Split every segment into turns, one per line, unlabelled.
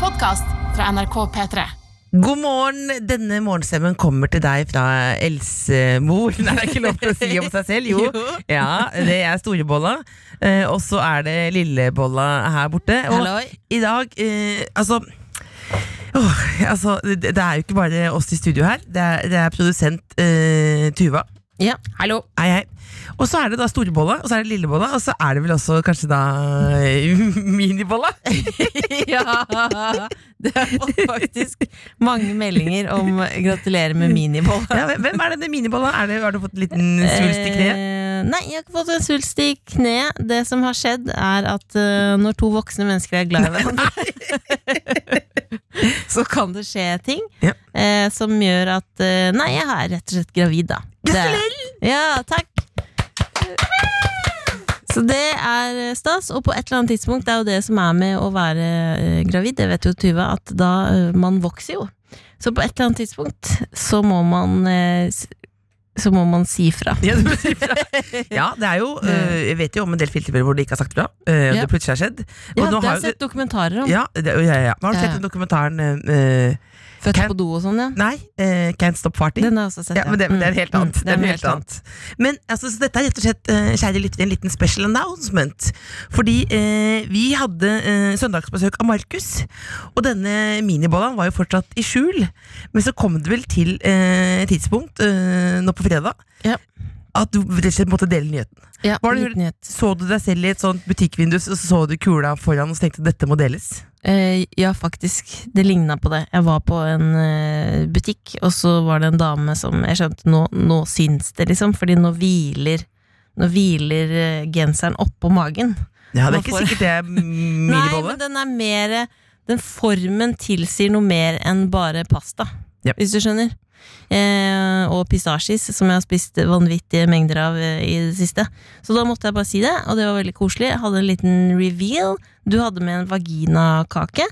podkast fra NRK P3.
God morgen. Denne morgenstemmen kommer til deg fra Else Mor. Nei, det er ikke lov til å si om seg selv. Jo. Ja, det er storebolla. Eh, og så er det lillebolla her borte. Og
Halloi.
i dag eh, Altså åh, altså, det, det er jo ikke bare oss i studio her. Det er, det er produsent eh, Tuva.
Ja, hallo.
Hei, hei. Og så er det da storebolla, og så er det lillebolla, og så er det vel også kanskje da eh, minibolla.
Ja, det har fått faktisk mange meldinger om gratulerer med miniboll.
Ja, hvem- hvem er denne minibolla? Er det, har du fått en liten svulst i kneet?
Eh, nei, jeg har ikke fått en svulst i kneet. Det som har skjedd, er at eh, når to voksne mennesker er glad i hverandre, så kan det skje ting
Ja.
eh, som gjør at eh, Nei, jeg er rett og slett gravid, da. Det- Ja, takk! Så det er eh, stas, og på et eller annet tidspunkt, det er jo det som er med å være eh, gravid, det vet jo Tuva, at da eh, man vokser jo. Så på et eller annet tidspunkt så må man, eh, s- så må man si fra.
Ja, du må si fra. ja, det er jo øh, Jeg vet jo om en del filmer hvor de ikke har sagt fra. øh, og
Mm. Ja.
Det plutselig har skjedd. Og
Ja,
nå
det har
har
jeg
jo-
sett dokumentarer om.
ja, det, ja, ja, ja. Har du
Ja,
sett
ja.
den dokumentaren øh,
Født
Kan-
på do og sånn, ja.
Nei, øh, Can't Stop Farting.
Den har jeg også sett.
ja, men det, men det er helt
Mm,
annet.
mm,
det er
noe
helt annet. Men altså, så dette er rett og slett øh, kjære lyttere, en liten special announcement. Fordi øh, vi hadde øh, søndagsbesøk av Markus, og denne minibollaen var jo fortsatt i skjul. Men så kom det vel til øh, et tidspunkt øh, nå på fredag
Ja.
at du rett og slett måtte dele nyheten.
Ja,
Var det-
liten nyhet.
Så du deg selv i et sånt butikkvindu, så så du kula foran og så tenkte dette må deles?
Eh, ja, faktisk. Det ligna på det. Jeg var på en eh, butikk, og så var det en dame som Jeg skjønte nå, nå syns det, liksom. Fordi nå hviler, nå hviler eh, genseren oppå magen.
Ja,
Man
det er ikke
får-
sikkert det er
Nei,
minibolle.
men den er mer Den formen tilsier noe mer enn bare pasta.
Ja.
Hvis du skjønner. Eh, og pistasjis, som jeg har spist vanvittige mengder av eh, i det siste. Så da måtte jeg bare si det, og det var veldig koselig. Jeg hadde en liten reveal. Du hadde med en vaginakake.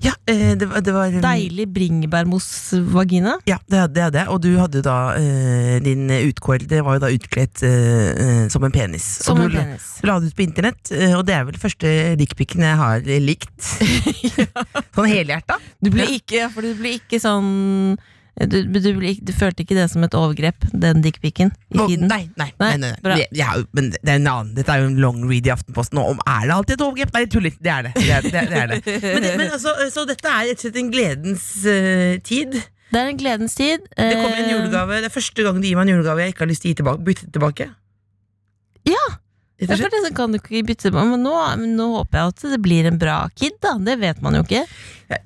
Ja, eh, det, var- det var
Deilig bringebærmousse-vagina.
Ja, det hadde det, hadde jeg. Og du hadde jo da eh, din utkårede var jo da utkledd eh, eh, som en penis.
Som
og
en
du,
penis.
Du la det ut på internett, eh, og det er vel første dickpicen jeg har likt. Sånn helhjerta.
Du ble ikke, for du ble ikke sånn du, du, ble ikke, du følte ikke det som et overgrep, den dickpicen, i
Nå-
tiden?
Nei, nei, nei,
Nei,
nei,
bra.
Vi- vi har jo- men det er en annen Dette er jo en long read i Aftenposten og Om er det alltid et overgrep? Nei, jeg tuller, det er det, det, er, det, er- det, er det. Men, det- men altså, Så dette er rett og slett en gledens eh, tid Det
Det er en gledens tid.
kommer en
Eh,
julegave Det er første gang du gir meg en julegave Jeg ikke har lyst til å gi tilbake, bytte tilbake
Ja.
Rett og
Ja, for
slett.
det kan du ikke bytte på. Men nå, men nå håper jeg at det blir en bra kid, da. Det vet man jo ikke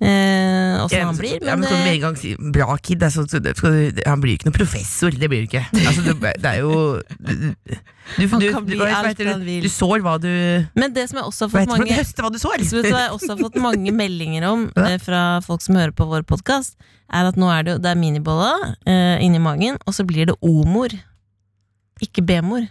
eh, åssen
Ja, men
han
så-
blir.
ja,
Men eh,
men
det,
kan du med en gang si Bra kid det er så, så, det- skal du, Han blir jo ikke noen professor Det blir du ikke altså, det, det er jo du, du,
Han
du,
kan bli
hva heter
alt
det?
han vil.
Du sår hva du
men det som jeg også har
Vet
fått
du hva du
mange
høster hva du sår
så vet du hva jeg også har fått mange meldinger om
Ja.
eh, fra folk som hører på vår podkast, er at nå er det, jo- det er minibolla eh, inni magen, og så blir det O-mor. Ikke B-mor.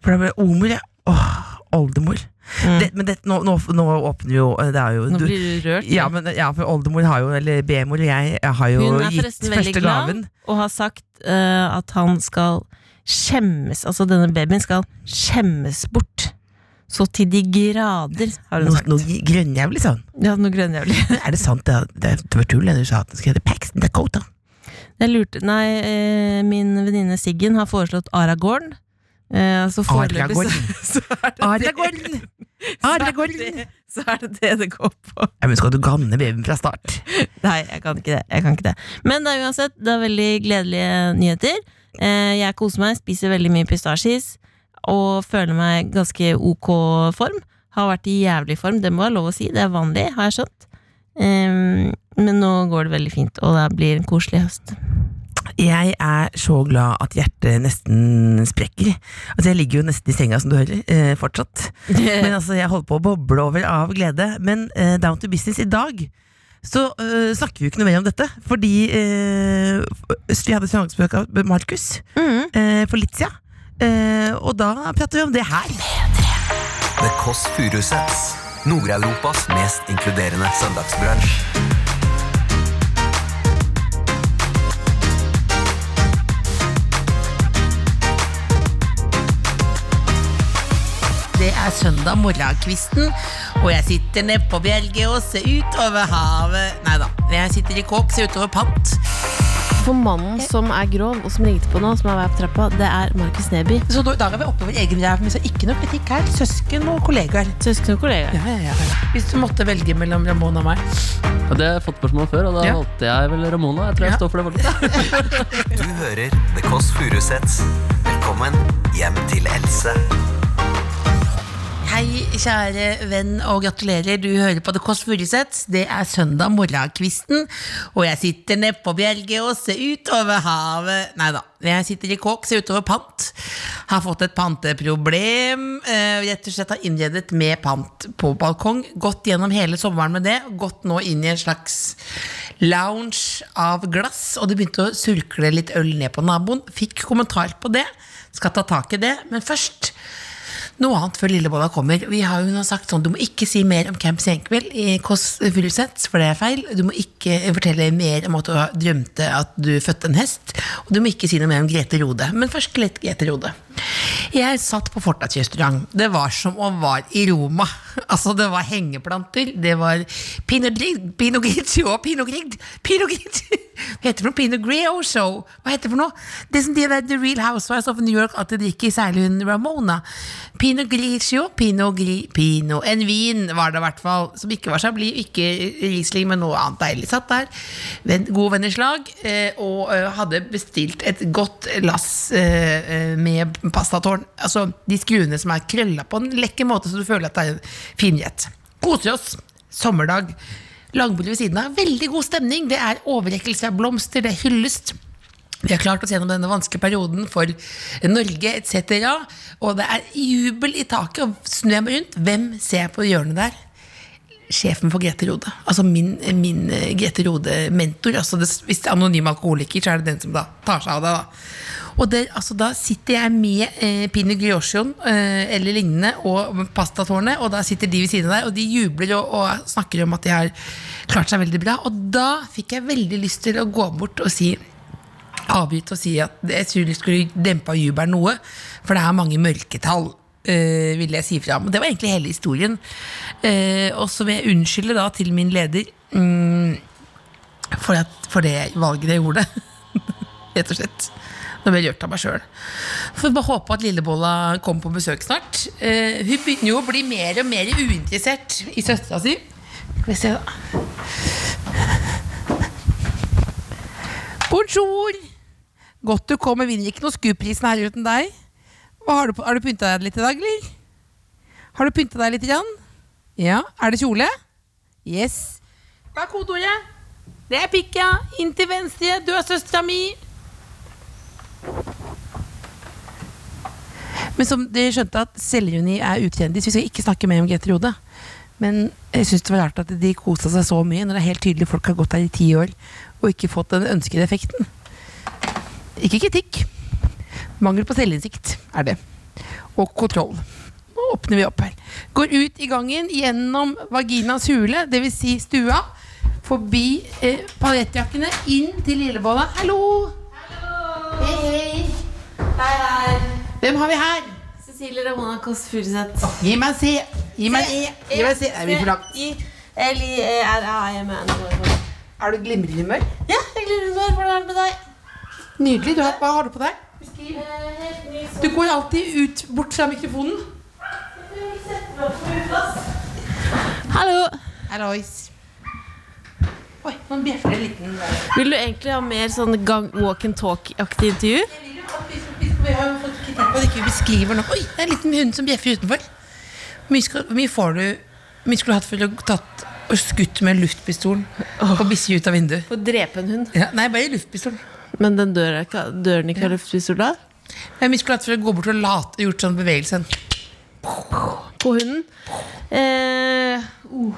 For da ble det omor, ja. Åh, oldemor.
Mm.
Det, men det, nå, nå, nå åpner jo eh, Det er jo
Nå
du,
blir du rørt.
ja, men, ja, for oldemor har jo, eller bemor, jeg, jeg har jo
Hun er
gitt
forresten veldig
første
glad.
gaven.
og har sagt eh, at han skal skjemmes Altså denne babyen skal skjemmes bort. Så til de grader, har hun
Nå,
sagt.
nå gi- grønner jeg vel litt sånn.
Ja, noe grønnjævlig.
Men Er det sant? Det, det, det var tull det du sa at den skulle hete Paxton Dakota.
Jeg lurte Nei, eh, min venninne Siggen har foreslått Aragorn. Eh, så foreløpig så,
Aragorn.
så er det
Aragorn! Aragorn!
Ah, det, så er det det det går på.
Ja, men skal du ganne babyen fra start?
Nei, jeg kan ikke det. Jeg kan ikke det. Men det er uansett det er veldig gledelige nyheter. Eh, jeg koser meg, spiser veldig mye pistasjeis og føler meg ganske ok form. Har vært i jævlig form, det må være lov å si. Det er vanlig, har jeg skjønt. Eh, men nå går det veldig fint, og det blir en koselig høst.
Jeg er så glad at hjertet nesten sprekker. Altså, jeg ligger jo nesten i senga, som du hører, eh, fortsatt. Men altså, jeg holder på å boble over av glede. Men eh, down to business i dag så eh, snakker vi jo ikke noe mer om dette. Fordi eh, vi hadde søndagsbesøk av Markus
Mhm.
eh, for litt siden. Eh, og da prater vi om det her.
The Kåss Furuseths. Nord-Europas mest inkluderende søndagsbransj.
Det er søndag morgenkvisten,
Og jeg sitter ned på bjelge og ser utover havet Nei da, jeg sitter i kåp, ser utover pant.
For mannen som er grov, og som ringte på nå, som er vei opp trappa, det er Markus Neby.
Så da- i dag er vi oppe over egen ræv, men så ikke noe kritikk her. Søsken og kollegaer.
Søsken og kollega.
Ja, ja, ja, ja. Hvis du måtte velge mellom Ramón og meg.
Ja, det har jeg fått spørsmål før, og da
Ja.
valgte jeg vel Ramona. Jeg tror jeg
Ja.
står for det valget.
Du hører The Kåss Furuseths. Velkommen hjem til Else.
Hei, kjære venn, og gratulerer. Du hører på The Kåss Furuseth. Det er søndag morgenkvisten, og jeg sitter ned på bjelge og ser utover havet. Nei da, jeg sitter i kåk, ser utover pant. Har fått et panteproblem. eh, Rett og slett har innredet med pant på balkong. Gått gjennom hele sommeren med det. Gått nå inn i en slags lounge av glass, og det begynte å surkle litt øl ned på naboen. Fikk kommentar på det. Skal ta tak i det, men først noe annet før Lillebolla kommer. Vi har jo nå sagt sånn, Du må ikke si mer om Camp Senkveld i Kåss Furuseth, for det er feil. Du må ikke fortelle mer om at du har- drømte at du fødte en hest. Og du må ikke si noe mer om Grete Rode. Men først litt Grete Rode. Jeg satt på Fortas restaurant. Det var som om var i Roma. Altså, det var hengeplanter, det var pinot grig- pinot grigio og pinot grig- pinot grigio. Hva heter det for noe? Pinot Greo Show? Hva heter det for noe? Det som de der The Real Housewives of New York alltid drikker, særlig hun Ramona. Pinot Grigio, Pinot Gri... Pinot En vin var det i hvert fall, som ikke var Chablis, ikke Riesling, men noe annet deilig. Satt der, ven, gode venners lag, eh, og eh, hadde bestilt et godt lass eh, eh, med pastatårn. Altså de skruene som er krølla på en lekker måte, så du føler at det er en finrett. Koser oss. Sommerdag. Langbordet ved siden av. Veldig god stemning. Det er overrekkelse av blomster, det er hyllest. Vi har klart oss gjennom denne vanskelige perioden for Norge etc. Og det er jubel i taket. Og snur jeg meg rundt, hvem ser jeg på hjørnet der? Sjefen for Grete Rode. Altså min, min eh, Grete Rode-mentor. Altså det, hvis det er anonym alkoholiker, så er det den som da tar seg av deg. Da Og det, altså, da sitter jeg med eh, Pino Griosjon eh, eller lignende og pastatårnet, og da sitter de ved siden av deg, og de jubler og, og snakker om at de har klart seg veldig bra. Og da fikk jeg veldig lyst til å gå bort og si avgitt å si at jeg tror det skulle dempa jubelen noe, for det er mange mørketall. eh, ville jeg si fra om. Og Det var egentlig hele historien. Eh, og så vil jeg unnskylde da til min leder mm, for, at, for det valget jeg gjorde. Rett og slett. Nå ble jeg gjort av meg sjøl. Får bare håpe at Lillebolla kommer på besøk snart. Eh, hun begynner jo å bli mer og mer uinteressert i søstera si. Skal vi se, da. Bonjour! Godt du kom, men vinner ikke noe Scoop-prisen her uten deg. Hva har, du, har du pynta deg litt i dag, eller? Har du pynta deg litt? Grann? Ja. Er det kjole? Yes. Hva er kodeordet? Det er pikka. Inn til venstre. Du er søstera mi. Men som dere skjønte at Selvironi er ukjendis. Vi skal ikke snakke mer om Grete Rode. Men jeg syns det var rart at de kosa seg så mye når det er helt tydelig folk har gått her i ti år og ikke fått den ønskede effekten. Ikke kritikk. Mangel på selvinnsikt er det. Og kontroll. Nå åpner vi opp her. Går ut i gangen gjennom vaginas hule, dvs. Si stua. Forbi eh, paljettjakkene, inn til lillebolla. Hallo! Hei, hei.
Hei, hei.
Hvem har vi her?
Cecilie Ramona Kåss Furuseth.
Gi meg en C. Gi meg en E. Gi meg en C. Nei, vi får langt.
L-I-E-R-A-M-N.
Er du glimrende i humør?
Ja, jeg gleder meg. Hvordan er det med deg?
Nydelig. Du har, hva har du på deg? Du går alltid ut bort fra mikrofonen.
Hallo.
Hallois. Oi, nå bjeffer det en liten
Vil du egentlig ha mer sånn gang, walk and talk-aktig intervju?
Vi har jo fått kritikk på at ikke vi beskriver nok. Oi, det er en liten hund som bjeffer utenfor. Hvor mye, skal, hvor mye får du Hvor mye skulle du hatt for å tatt og skutt med en luftpistol og bisse ut av vinduet?
Få drepe en hund.
Ja, nei, bare luftpistol.
Men den dør er ikke, dør den ikke av luftpistol da?
Hvor mye skulle du hatt for å gå bort og late gjort sånn bevegelse?
På hunden? Eh, oh.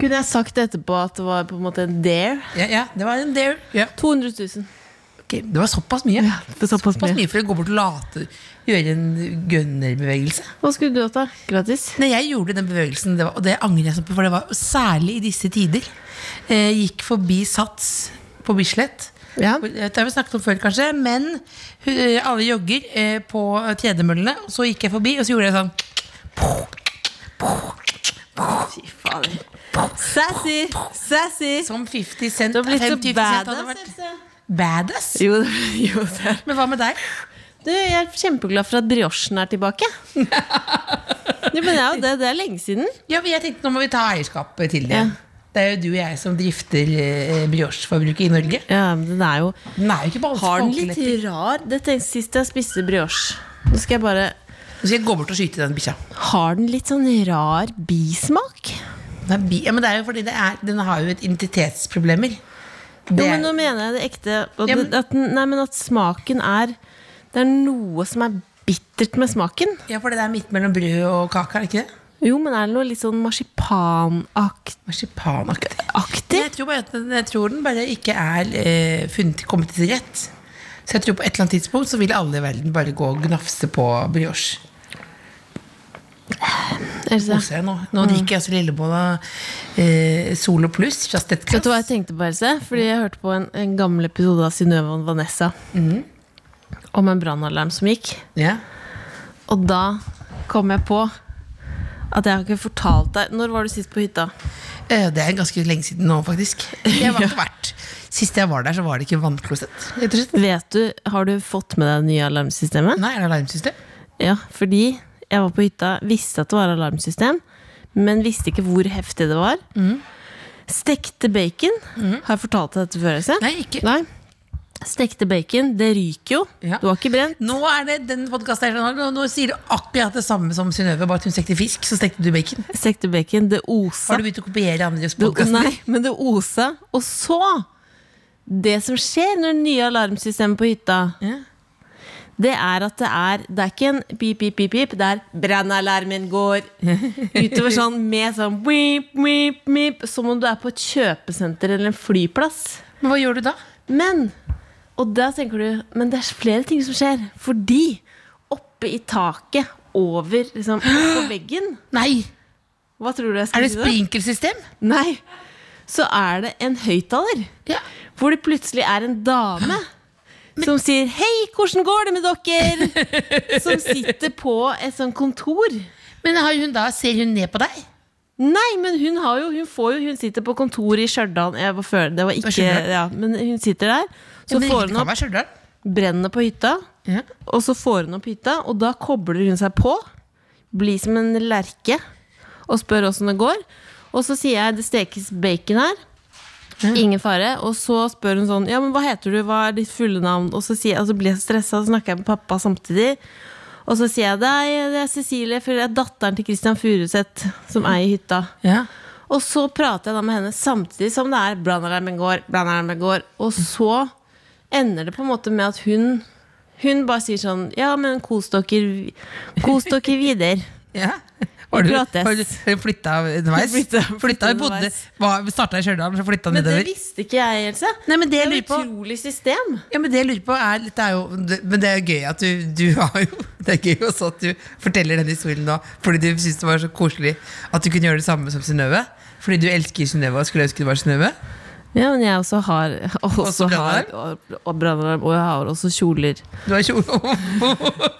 Kunne jeg sagt etterpå at det var på en måte en dare?
Ja, ja, det var en dare. Ja.
200 000.
Ok, det var såpass mye.
Det er såpass
Såpass
mye.
mye for å gå bort og late gjøre en gunnerbevegelse.
Hva skulle du hatt, da? Gratis?
Nei, jeg gjorde den bevegelsen, det var, og det angrer jeg sånn på, for det var særlig i disse tider. Eh, gikk forbi Sats på Bislett.
Ja.
Hvor- eh, Det har vi snakket om før, kanskje, men hu- eh, alle jogger eh, på tredemøllene. og Så gikk jeg forbi, og så gjorde jeg sånn
Fy fader. Sassy! Sassy!
Som 50 Cent.
Du har blitt så
50 Cent hadde
badass.
vært
Else.
badass.
Jo, det- jo, det er
Men hva med deg?
Du, jeg er kjempeglad for at briochen er tilbake. Jo, men det er jo det. Det er lenge siden.
Ja, men jeg tenkte Nå må vi ta eierskap til det.
Ja.
Det er jo du og jeg som drifter eh, briocheforbruket i Norge.
Ja, men den er jo
Den er jo ikke på alle
Har den
folkelepper.
litt rar Det tenkte jeg sist jeg spiste brioche. Nå skal jeg bare
Nå skal jeg gå bort og skyte den bikkja.
Har den litt sånn rar bismak?
Den er bi- Ja, men det er jo fordi det er, den har jo et identitetsproblemer.
Jo,
Det er-
men nå mener jeg det ekte. At,
Ja, men-
at, den- nei, men at smaken er Det er noe som er bittert med smaken.
Ja, for det er midt mellom brød og kake, er det ikke det?
Jo, men er det noe litt sånn marsipanaktig?
Marsipanaktig. Jeg tror, bare at den, jeg tror den bare ikke er eh, funnet, kommet til sin rett. Så jeg tror på et eller annet tidspunkt så vil alle i verden bare gå og gnafse på brioche.
Else?
Koser jeg Nå Nå
Mm.
drikker jeg altså lillebolla eh, Solo Pluss fra
Vet du hva
Stettklass.
jeg tenkte på, Else? Fordi jeg hørte på en, en gammel episode av Synnøve og Vanessa
Mhm.
om en brannalarm som gikk.
Ja.
Og da kom jeg på at jeg har ikke fortalt deg Når var du sist på hytta?
Eh, Det er ganske lenge siden nå, faktisk. Jeg var ikke vært. Sist jeg var der, så var det ikke vannklosett. rett og slett.
Vet du, Har du fått med deg det nye alarmsystemet?
Nei, er det alarmsystem?
Ja, fordi jeg var på hytta, visste at det var alarmsystem, men visste ikke hvor heftig det var.
Mhm.
Stekte bacon. Har jeg fortalt deg dette før? Else?
Nei, ikke.
Nei. Stekte bacon, det ryker jo.
Ja.
Du har ikke brent.
Nå er det den podcasten her, sånn, nå, nå sier du akkurat det samme som Synnøve, bare at hun stekte fisk, så stekte du bacon.
Stekte bacon, det osa.
Har du begynt å kopiere andres
Det-
podkaster?
Nei, men det osa. Og så Det som skjer når det nye alarmsystemet på hytta
Ja.
Det er at det er Det er ikke en pip, pip, pip, pip Det er brannalarmen går Utover sånn med sånn beep, beep, beep, Som om du er på et kjøpesenter Eller en flyplass
Men hva gjør du da?
Men Og da tenker du Men det er flere ting som skjer Fordi Oppe i taket Over liksom På veggen
Nei!
Hva tror du jeg
Er
skal
det
si da?
sprinkelsystem?
Nei Så er det en høyttaler
Ja.
hvor det plutselig er en dame som sier 'Hei, hvordan går det med dere?' Som sitter på et sånt kontor.
Men har hun da, ser hun ned på deg?
Nei, men hun har jo Hun får jo Hun sitter på kontoret i Stjørdal. Jeg var før, det var ikke
Stjørdal?
ja, Men hun sitter der.
Ja,
Så
men
får
det
hun opp
kan være Stjørdal.
brennet på hytta,
Ja.
og så får hun opp hytta, og da kobler hun seg på. Blir som en lerke og spør åssen det går. Og så sier jeg 'det stekes bacon her'. Ingen fare. Og så spør hun sånn 'ja, men hva heter du, hva er ditt fulle navn?' Og så, sier, og så blir jeg stressa, og så snakker jeg med pappa samtidig. Og så sier jeg 'nei, det er Cecilie, for det er datteren til Christian Furuseth som eier hytta'.
Ja.
Og så prater jeg da med henne samtidig som det er brannalarmen går, brannalarmen går. Og så ender det på en måte med at hun Hun bare sier sånn Ja, men kos dere, vi- kos dere videre.
ja. Har du,
Prates.
har du har du flytta underveis?
Flytta-
Flytta
flytta
i Bodø.
underveis.
Starta i Stjørdal, så flytta
Men det
nedover.
visste ikke jeg, Else.
Nei, men det
Det
jeg
er
lurer
et
på
utrolig system.
Ja, men det jeg lurer på er, det er jo, det- Men det er jo gøy at du, du har jo Det er gøy også at du forteller den historien nå fordi du syns det var så koselig at du kunne gjøre det samme som Synnøve. Fordi du elsker Synnøve og skulle ønske det var Synnøve.
Ja, men jeg også har også,
Også
har- og brannalarm. Og jeg har også kjoler.
Du har kjole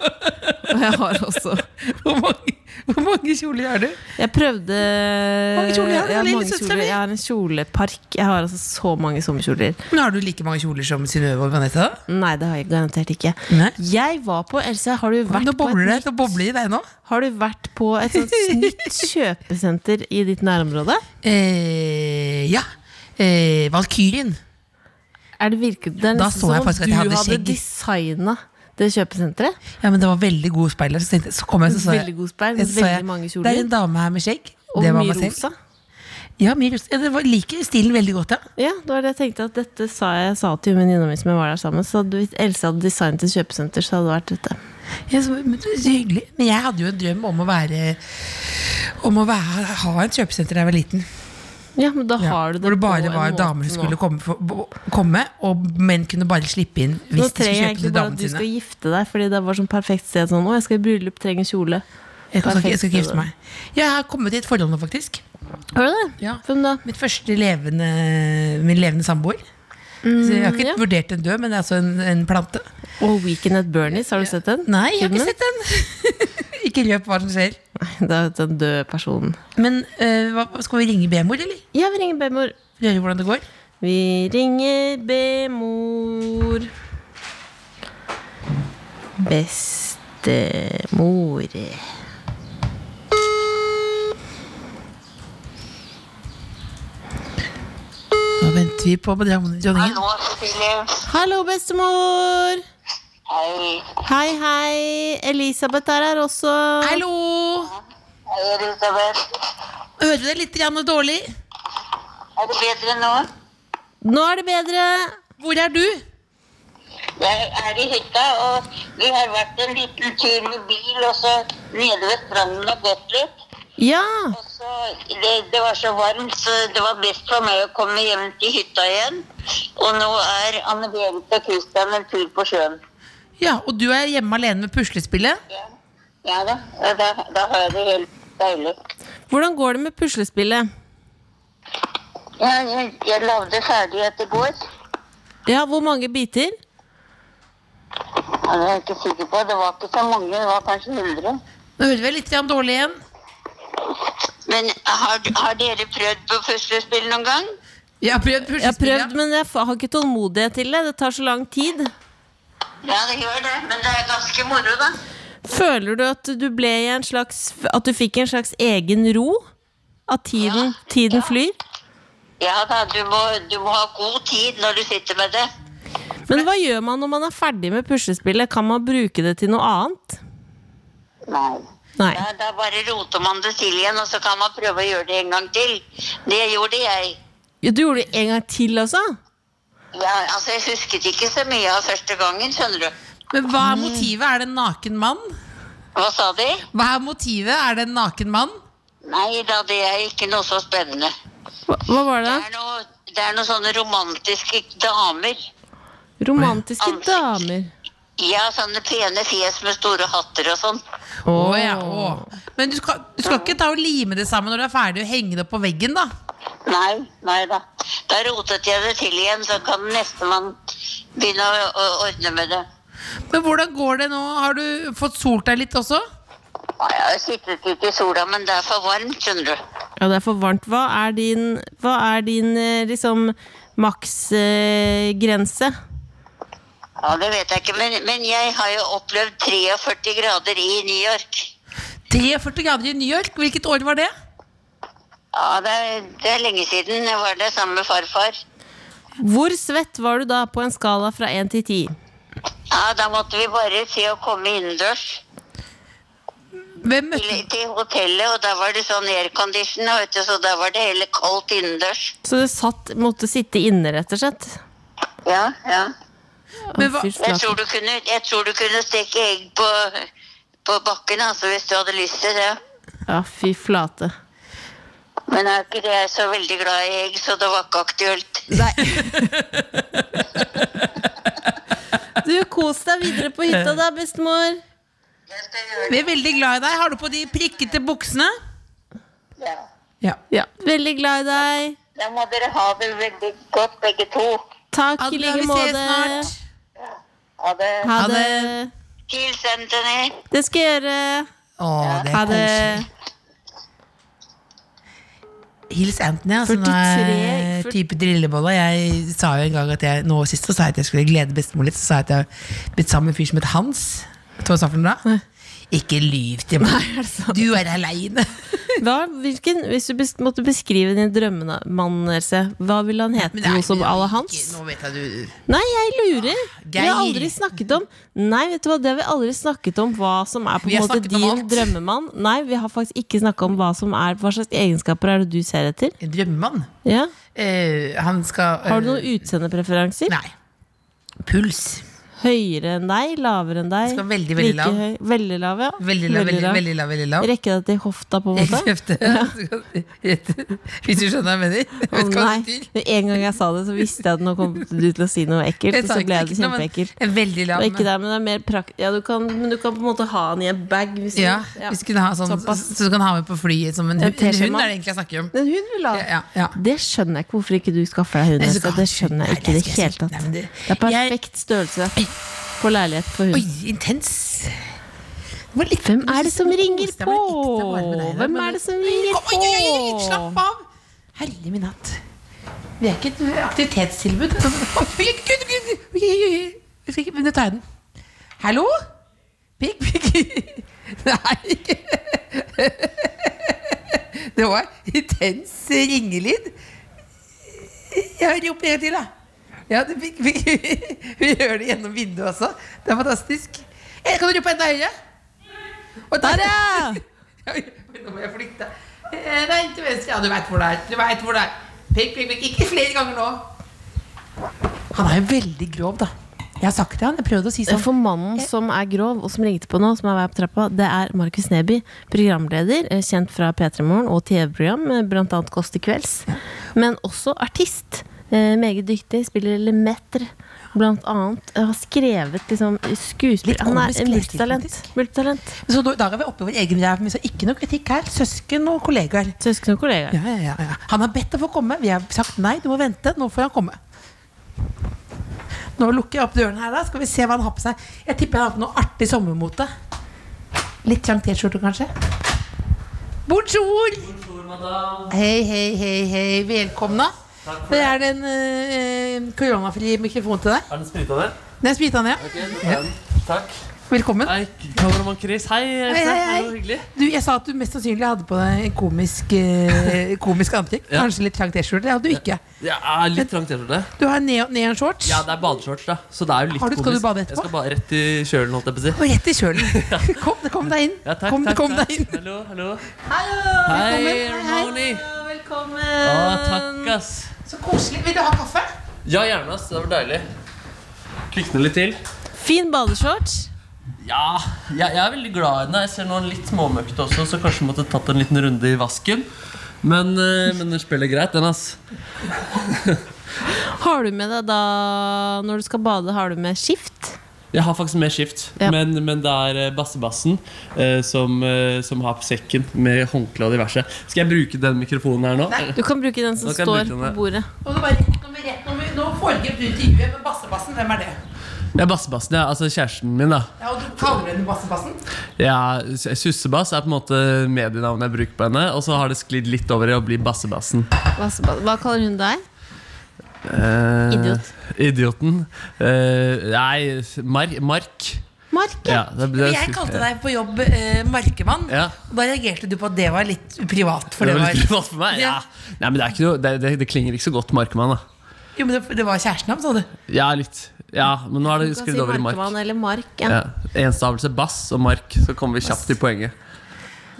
Og jeg har også
Hvor mange, hvor mange kjoler har du?
Jeg prøvde
mange kjoler har du,
jeg har,
lille
mange
søstera
kjoler.
mi?
jeg har en kjolepark. Jeg har altså så mange sommerkjoler.
Men Har du like mange kjoler som Synnøve og Vanessa? da?
Nei, det har jeg garantert ikke.
Nei.
Jeg var på Else, har du vært
Nå
på
bobler det
et,
nå bobler det i deg nå.
har du vært på et sånt nytt kjøpesenter i ditt nærområde?
Eh, ja. Eh, Valkyrien.
Er det virket, det er
Da
nesten
så jeg
som om
faktisk at jeg hadde
du hadde
skjegg.
designa det kjøpesenteret.
Ja, men det var veldig gode speiler. Så, tenkte, jeg- så kom jeg, så så jeg,
Veldig god speil, med
jeg, så så jeg
veldig mange
Det er
kjoler.
en dame her med skjegg.
Og
det var
mye
meg selv.
rosa.
Ja, mye rosa. Ja, det var, liker stilen veldig godt, ja.
Ja, det var det jeg tenkte at dette sa jeg sa til venninna mi som jeg var der sammen. Så hadde- hvis Else hadde designet et kjøpesenter, så hadde det vært dette.
ja så, men, det er så hyggelig. Men jeg hadde jo en drøm om å være Om å være, ha et kjøpesenter da jeg var liten.
Ja, men da
Ja,
har du det
hvor det
på
bare
en
var
måte
damer
nå.
som skulle komme, for, bo- komme, og menn kunne bare slippe inn
Nå
hvis de
trenger
skulle
jeg egentlig
kjøpe til
bare at
damene
du
sine.
skal gifte deg, fordi det var sånn perfekt sted. Sånn, å, jeg skal i bryllup, trenger kjole.
Jeg skal, ikke- jeg skal ikke
perfekt
gifte meg. Jeg har kommet i et forhold nå, faktisk.
Har du det?
Ja.
Hvem da?
Mitt første levende, min levende samboer. Så jeg har ikke
Mm, ja.
vurdert en død, men det er altså en, en plante.
Og Weekend at Bernies, har du sett den?
Nei, jeg har
Filmen?
ikke sett den! ikke røp hva som skjer.
Da, den døde personen.
Men eh, hva, skal vi ringe B-mor, eller?
Ja, vi ringer B-mor.
For å høre hvordan det går?
Vi ringer B-mor. Bestemor.
Da venter vi på dronningen.
Hallo, Cecilie.
Hallo, bestemor!
Hei.
Hei, hei. Elisabeth er her også.
Hallo!
Hei, Elisabeth.
Hører du deg litt grann dårlig?
Er det bedre nå?
Nå er det bedre.
Hvor er du?
Jeg er i hytta, og vi har vært en liten tur med bil, og så nede ved stranden og gått litt.
Ja.
Og så, det, det var så varmt, så det var best for meg å komme hjem til hytta igjen. Og nå er Anne Berit og Christian en tur på sjøen.
Ja, Og du er hjemme alene med puslespillet?
Ja, ja da, ja, da, da har jeg det helt deilig.
Hvordan går det med puslespillet?
Jeg, jeg, jeg lagde ferdig etter går.
Ja, Hvor mange biter?
Ja, det er jeg ikke sikker på. Det var ikke så mange, det var kanskje 100.
Nå hører vi deg litt grann dårlig igjen.
Men har, har dere prøvd på puslespill noen gang?
Jeg har prøvd
Jeg har
puslespill.
prøvd, men jeg har ikke tålmodighet til det. Det tar så lang tid.
Ja, det gjør det, men det er ganske moro, da.
Føler du at du ble i en slags At du fikk en slags egen ro? At tiden, tiden flyr?
Ja da, du må, du må ha god tid når du sitter med det.
Men hva gjør man når man er ferdig med puslespillet? Kan man bruke det til noe annet?
Nei.
Nei.
Da, da bare roter man det til igjen, og så kan man prøve å gjøre det en gang til. Det gjorde jeg.
Ja, Du gjorde det en gang til også?
Ja, altså, Jeg husket ikke så mye av første gangen, skjønner du.
Men hva
Mm.
er motivet? Er det en naken mann?
Hva sa de?
Hva er motivet? Er det en naken mann?
Nei da, det er ikke noe så spennende.
Hva, hva var det?
Det er noe, det er noe sånne romantiske damer.
Romantiske
Ansikt.
damer.
Ja, sånne pene fjes med store hatter og sånn.
Å ja, å. Men du skal, du skal ikke ta og lime det sammen når du er ferdig, og henge det opp på veggen, da?
Nei, nei da. Da rotet jeg det til igjen, så kan nestemann begynne å, å ordne med det.
Men hvordan går det nå? Har du fått solt deg litt også?
Nei, Jeg har sittet ute i sola, men det er for varmt, skjønner du.
Ja, det er for varmt. Hva er din, hva er din eh, liksom eh, maksgrense?
Ja, det vet jeg ikke, men, men jeg har jo opplevd 43 grader i New York.
43 grader i New York. Hvilket år var det?
Ja, det er, det er lenge siden jeg var der sammen med farfar.
Hvor svett var du da på en skala fra 1 til 10?
Ja, da måtte vi bare se å komme innendørs
Hvem
til,
møtte
til hotellet, og da var det sånn aircondition, vet du, så da var det heller kaldt innendørs.
Så du satt, måtte sitte inne, rett og slett?
Ja, ja.
Men hva-
Fy
Jeg
flate.
tror du kunne, jeg tror du kunne steke egg på, på bakken, altså, hvis du hadde lyst til det.
Ja, fy flate.
Men jeg er ikke det jeg er så veldig glad i egg, så det var ikke aktuelt.
Du, kos deg videre på hytta da, bestemor.
Jeg skal gjøre
Vi er veldig glad i deg. Har du på de prikkete buksene?
det. ja.
Ja.
Ja. Veldig glad i deg.
Da må dere ha det veldig godt, begge to.
Takk i
Adela,
like
vi ses
måte.
snart.
Ha det.
Ha
Ha
det.
det.
Hils Anthony.
Det skal jeg gjøre.
Å, det
Ha
er
det.
koselig. Hils Anthony, altså. Nå
43,
er
fyrt-
type drillebolle. Jeg sa jo en gang at jeg nå sist så sa jeg at jeg skulle glede bestemor litt. Så sa jeg at jeg har blitt sammen med en fyr som het Hans. Vet du hva jeg sa for noe da? Ikke lyv til meg. Du er aleine.
Hva, hvilken, hvis du bes- måtte beskrive din drømmemann, Else, hva ville han hete? Noe som à la hans?
Nå vet jeg du
Nei, jeg lurer. Vi har
Ah, Geir.
aldri snakket om Nei, vet du hva, det har vi aldri snakket om hva som er på
Vi
en
har
måte
snakket om
din
alt.
drømmemann. Nei, vi har faktisk ikke snakket om hva som er Hva slags egenskaper er det du ser etter?
En drømmemann.
Ja.
Eh, han skal
Har du
eh,
noen utseendepreferanser?
Nei. Puls.
Høyere enn deg? Lavere enn deg?
Skal veldig, veldig lav.
høy? Veldig lav, ja.
Veldig lav, veldig,
lav.
veldig lav. Veldig lav.
Rekke deg til hofta, på en måte?
Kjøpte. Rett- Hvis du skjønner hva jeg mener. Jeg
Å
vet ikke hva
nei,
du sier.
Med En gang jeg sa det, så visste jeg at nå kom du til å si noe ekkelt.
Jeg
Og
sa
så
ikke
ble
ekkelt
det
nå, men
kjempeekkelt.
jeg er veldig
Det
lav,
er ikke
men-
det, men det er mer prakt... Ja, du kan, men du kan på en måte ha den i en bag. Hvis du,
Ja, hvis du kunne ha sånn
Såpass.
Så du kan ha med på flyet som en, hu-
En
en hund, er det
teskjema.
egentlig jeg snakker om.
Men hun vil ha
Ja, ja, ja.
Det skjønner jeg ikke hvorfor ikke du skaffer deg hund.
Jeg
Else.
skal ha
Det
hund.
skjønner jeg
Nei,
ikke i det
jeg skal-
hele tatt.
Nei, men det-
Det er perfekt størrelse på leilighet for
Oi,
hund.
intens! Hvor litt-
Hvem er det som
Koste meg
ringer
litt, jeg
på?
var med deg, da,
Hvem
men-
er det som ringer
Kom, oi, oi, oi, oi, slapp
på?
av! Herlig min hatt. Vi er ikke et aktivitetstilbud. Oi, oi, Gud, gud, gud. Oi, oi, oi. Jeg fikk- Men nå tar jeg den. Hallo? Pikk, pikk. Nei. Det var intens ringelyd. Jeg roper en gang til, da. Ja, det fikk, fikk. Vi gjør det gjennom vinduet også. Det er fantastisk. Eh, Kan du rope enda høyere? Og der, ja! Ja, men Nå må jeg flykte. Eh, Nei, til venstre. Ja, du veit hvor det er. Du vet hvor det er. Pikk, pikk, pikk. Ikke flere ganger nå. Han er jo veldig grov, da. Jeg har sagt det han. Jeg prøvde å si sånn.
For mannen som er grov, og som ringte på nå, som er vei på trappa, det er Markus Neby. Programleder, eh, kjent fra P3 Morgen og TV-program, eh, blant annet Kåss til kvelds. Men også artist. Eh, meget dyktig. Spiller Lemaitre, blant annet. Eh, Har skrevet liksom skuespill
Litt
Han er
komisk
en
levstil,
multitalent.
faktisk.
multitalent.
Så da- i dag er vi oppe i vår egen ræv. men så Ikke noe kritikk her. Søsken og kollegaer.
Søsken og kollega.
Ja, ja, ja, ja. Han har bedt å få komme. Vi har sagt nei, du må vente. Nå får han komme. Nå lukker jeg opp døren her, da. Skal vi se hva han har på seg. Jeg tipper han har på noe artig sommermote. Litt trang T-skjorte, kanskje. Bonjour! Hei, hei, hei, hei. Velkomna. Det er en eh, koronafri mikrofon til deg.
Er den sprita der?
Den er sprita ned.
Ok, da tar jeg den. Takk.
Velkommen.
Hei, kameramann Chris. Hei,
Hei,
Else.
hei, hei.
Det var hyggelig.
Du, jeg sa at du mest sannsynlig hadde på deg en komisk, eh, komisk antrekk.
Ja.
Kanskje litt trang T-skjorte. Det hadde du ikke.
Ja, litt trangt T-skjorte.
Du har neon, neon shorts.
Ja, det er badeshorts, da. Så det er jo litt
Har du- skal du
komisk.
bade
Jeg
etterpå?
skal bare rett i kjølen, holdt jeg på å si.
Og rett i kjølen. Kom, kom deg inn.
Ja, takk,
kom,
takk,
kom
takk.
deg inn.
Hallo, hallo.
velkommen.
Hei,
Hei, hei.
Ramoni. Å,
Velkommen!
Ah, takk, ass.
Så koselig. Vil du ha kaffe?
Ja, gjerne, ass. Det var deilig. Kvikne litt til.
Fin badeshorts.
Ja, jeg, jeg er veldig glad i den. Jeg ser nå en litt småmøkt også, så kanskje måtte tatt en liten runde i vasken. Men, eh, men den spiller greit, den, ass.
Har du med deg da, når du skal bade, har du med skift?
Jeg har faktisk med skift,
Ja.
men, men det er eh, bassebassen eh, som, eh, som har på sekken med håndkle og diverse. Skal jeg bruke den mikrofonen her nå?
Du kan bruke den som
Da kan jeg
står
bruke den
på
der.
bordet.
Og det var rett nummer rett nummer. Nå foregrep du intervjuet med Bassebassen. Hvem er det?
Ja, bassebassen, ja. Altså kjæresten min, da.
Ja, og du kaller henne Bassebassen?
Ja, s- Sussebass er på en måte medienavnet jeg bruker på henne, og så har det sklidd litt over i å bli Bassebassen.
Hva, hva kaller hun deg?
Eh,
Idiot.
Idioten. Eh, nei, Mar Mark.
Mark, ja.
Ja, det, det,
Jeg kalte deg på jobb eh, markemann.
Ja.
Og Da reagerte du på at det var litt privat. For
det
det
var
var,
litt privat for meg? Ja.
Ja.
Nei, men det, er ikke noe, det, det, det klinger ikke så godt Markmann, da.
jo, men det, det var kjæresten hans, sa du.
Ja, litt. Ja, men nå er
Du
det
kan si
skrudd over i Mark.
Markemann eller Mark. Ja.
Ja. Enstavelse bass og mark, så kommer vi kjapt til poenget.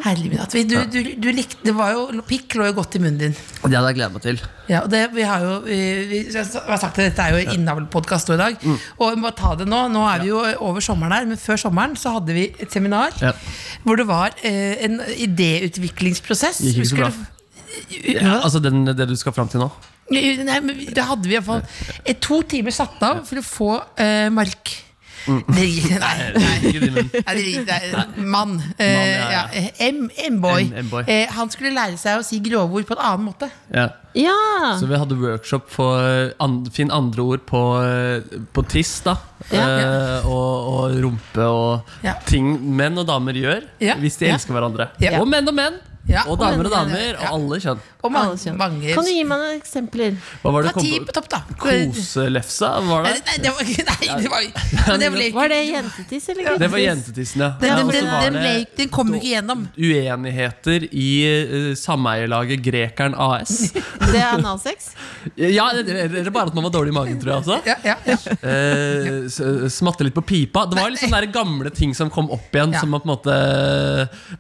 Herlig min hatt. Vi- Du, du, du likte, det var jo, pikk lå jo godt i munnen din.
Det hadde jeg gledet meg til.
Ja, og det, vi har jo vi, vi har sagt at Dette er jo innavlpodkast i dag. Og vi må ta det nå. Nå er vi jo over sommeren her, men før sommeren så hadde vi et seminar
Ja.
hvor det var eh, en idéutviklingsprosess.
Gikk ikke så
Husker
bra.
du-
Ja, altså den, det du skal fram til nå?
Nei, men vi- da hadde vi iallfall to timer satt av for å få eh, mark. Det gikk Nei. Mm. nei.
Ikke din, men-
Nei, det gikk- nei, Mann. Eh,
Mann,
ja,
ja,
M- M-boy.
M- M-boy.
Eh, han skulle lære seg å si grovord på en annen måte.
Ja.
ja.
Så vi hadde workshop for an, Finn andre ord på, på tiss, da.
Ja.
Eh, og, og rumpe og
Ja.
ting menn og damer gjør
Ja.
hvis de
Ja.
elsker hverandre.
Ja.
Og menn og menn!
Ja,
og damer
og
og
menn,
damer, og alle kjønn.
Og
Alle
mange,
kjønn.
mange
Kan du gi meg noen eksempler?
Hva var
Ta
det kom
ti på
på?
topp, da.
Koselefsa? Var
Nei,
det?
nei, det var ikke Nei, det var men det ble ikke
Var det jentetiss eller
Eh,
Det
guttetiss?
var jentetissen, ja.
Den,
ja
den,
og så
den,
var
den, ble,
det-
den kom jo ikke gjennom.
uenigheter i eh, sameielaget Grekeren AS.
Det er analsex?
Ja, det- det- det er bare at man var dårlig i magen, tror jeg også.
Ja, ja, ja.
Eh, s- smatte litt på pipa. Det var litt sånne der gamle ting som kom opp igjen.
Ja.
Som at på en måte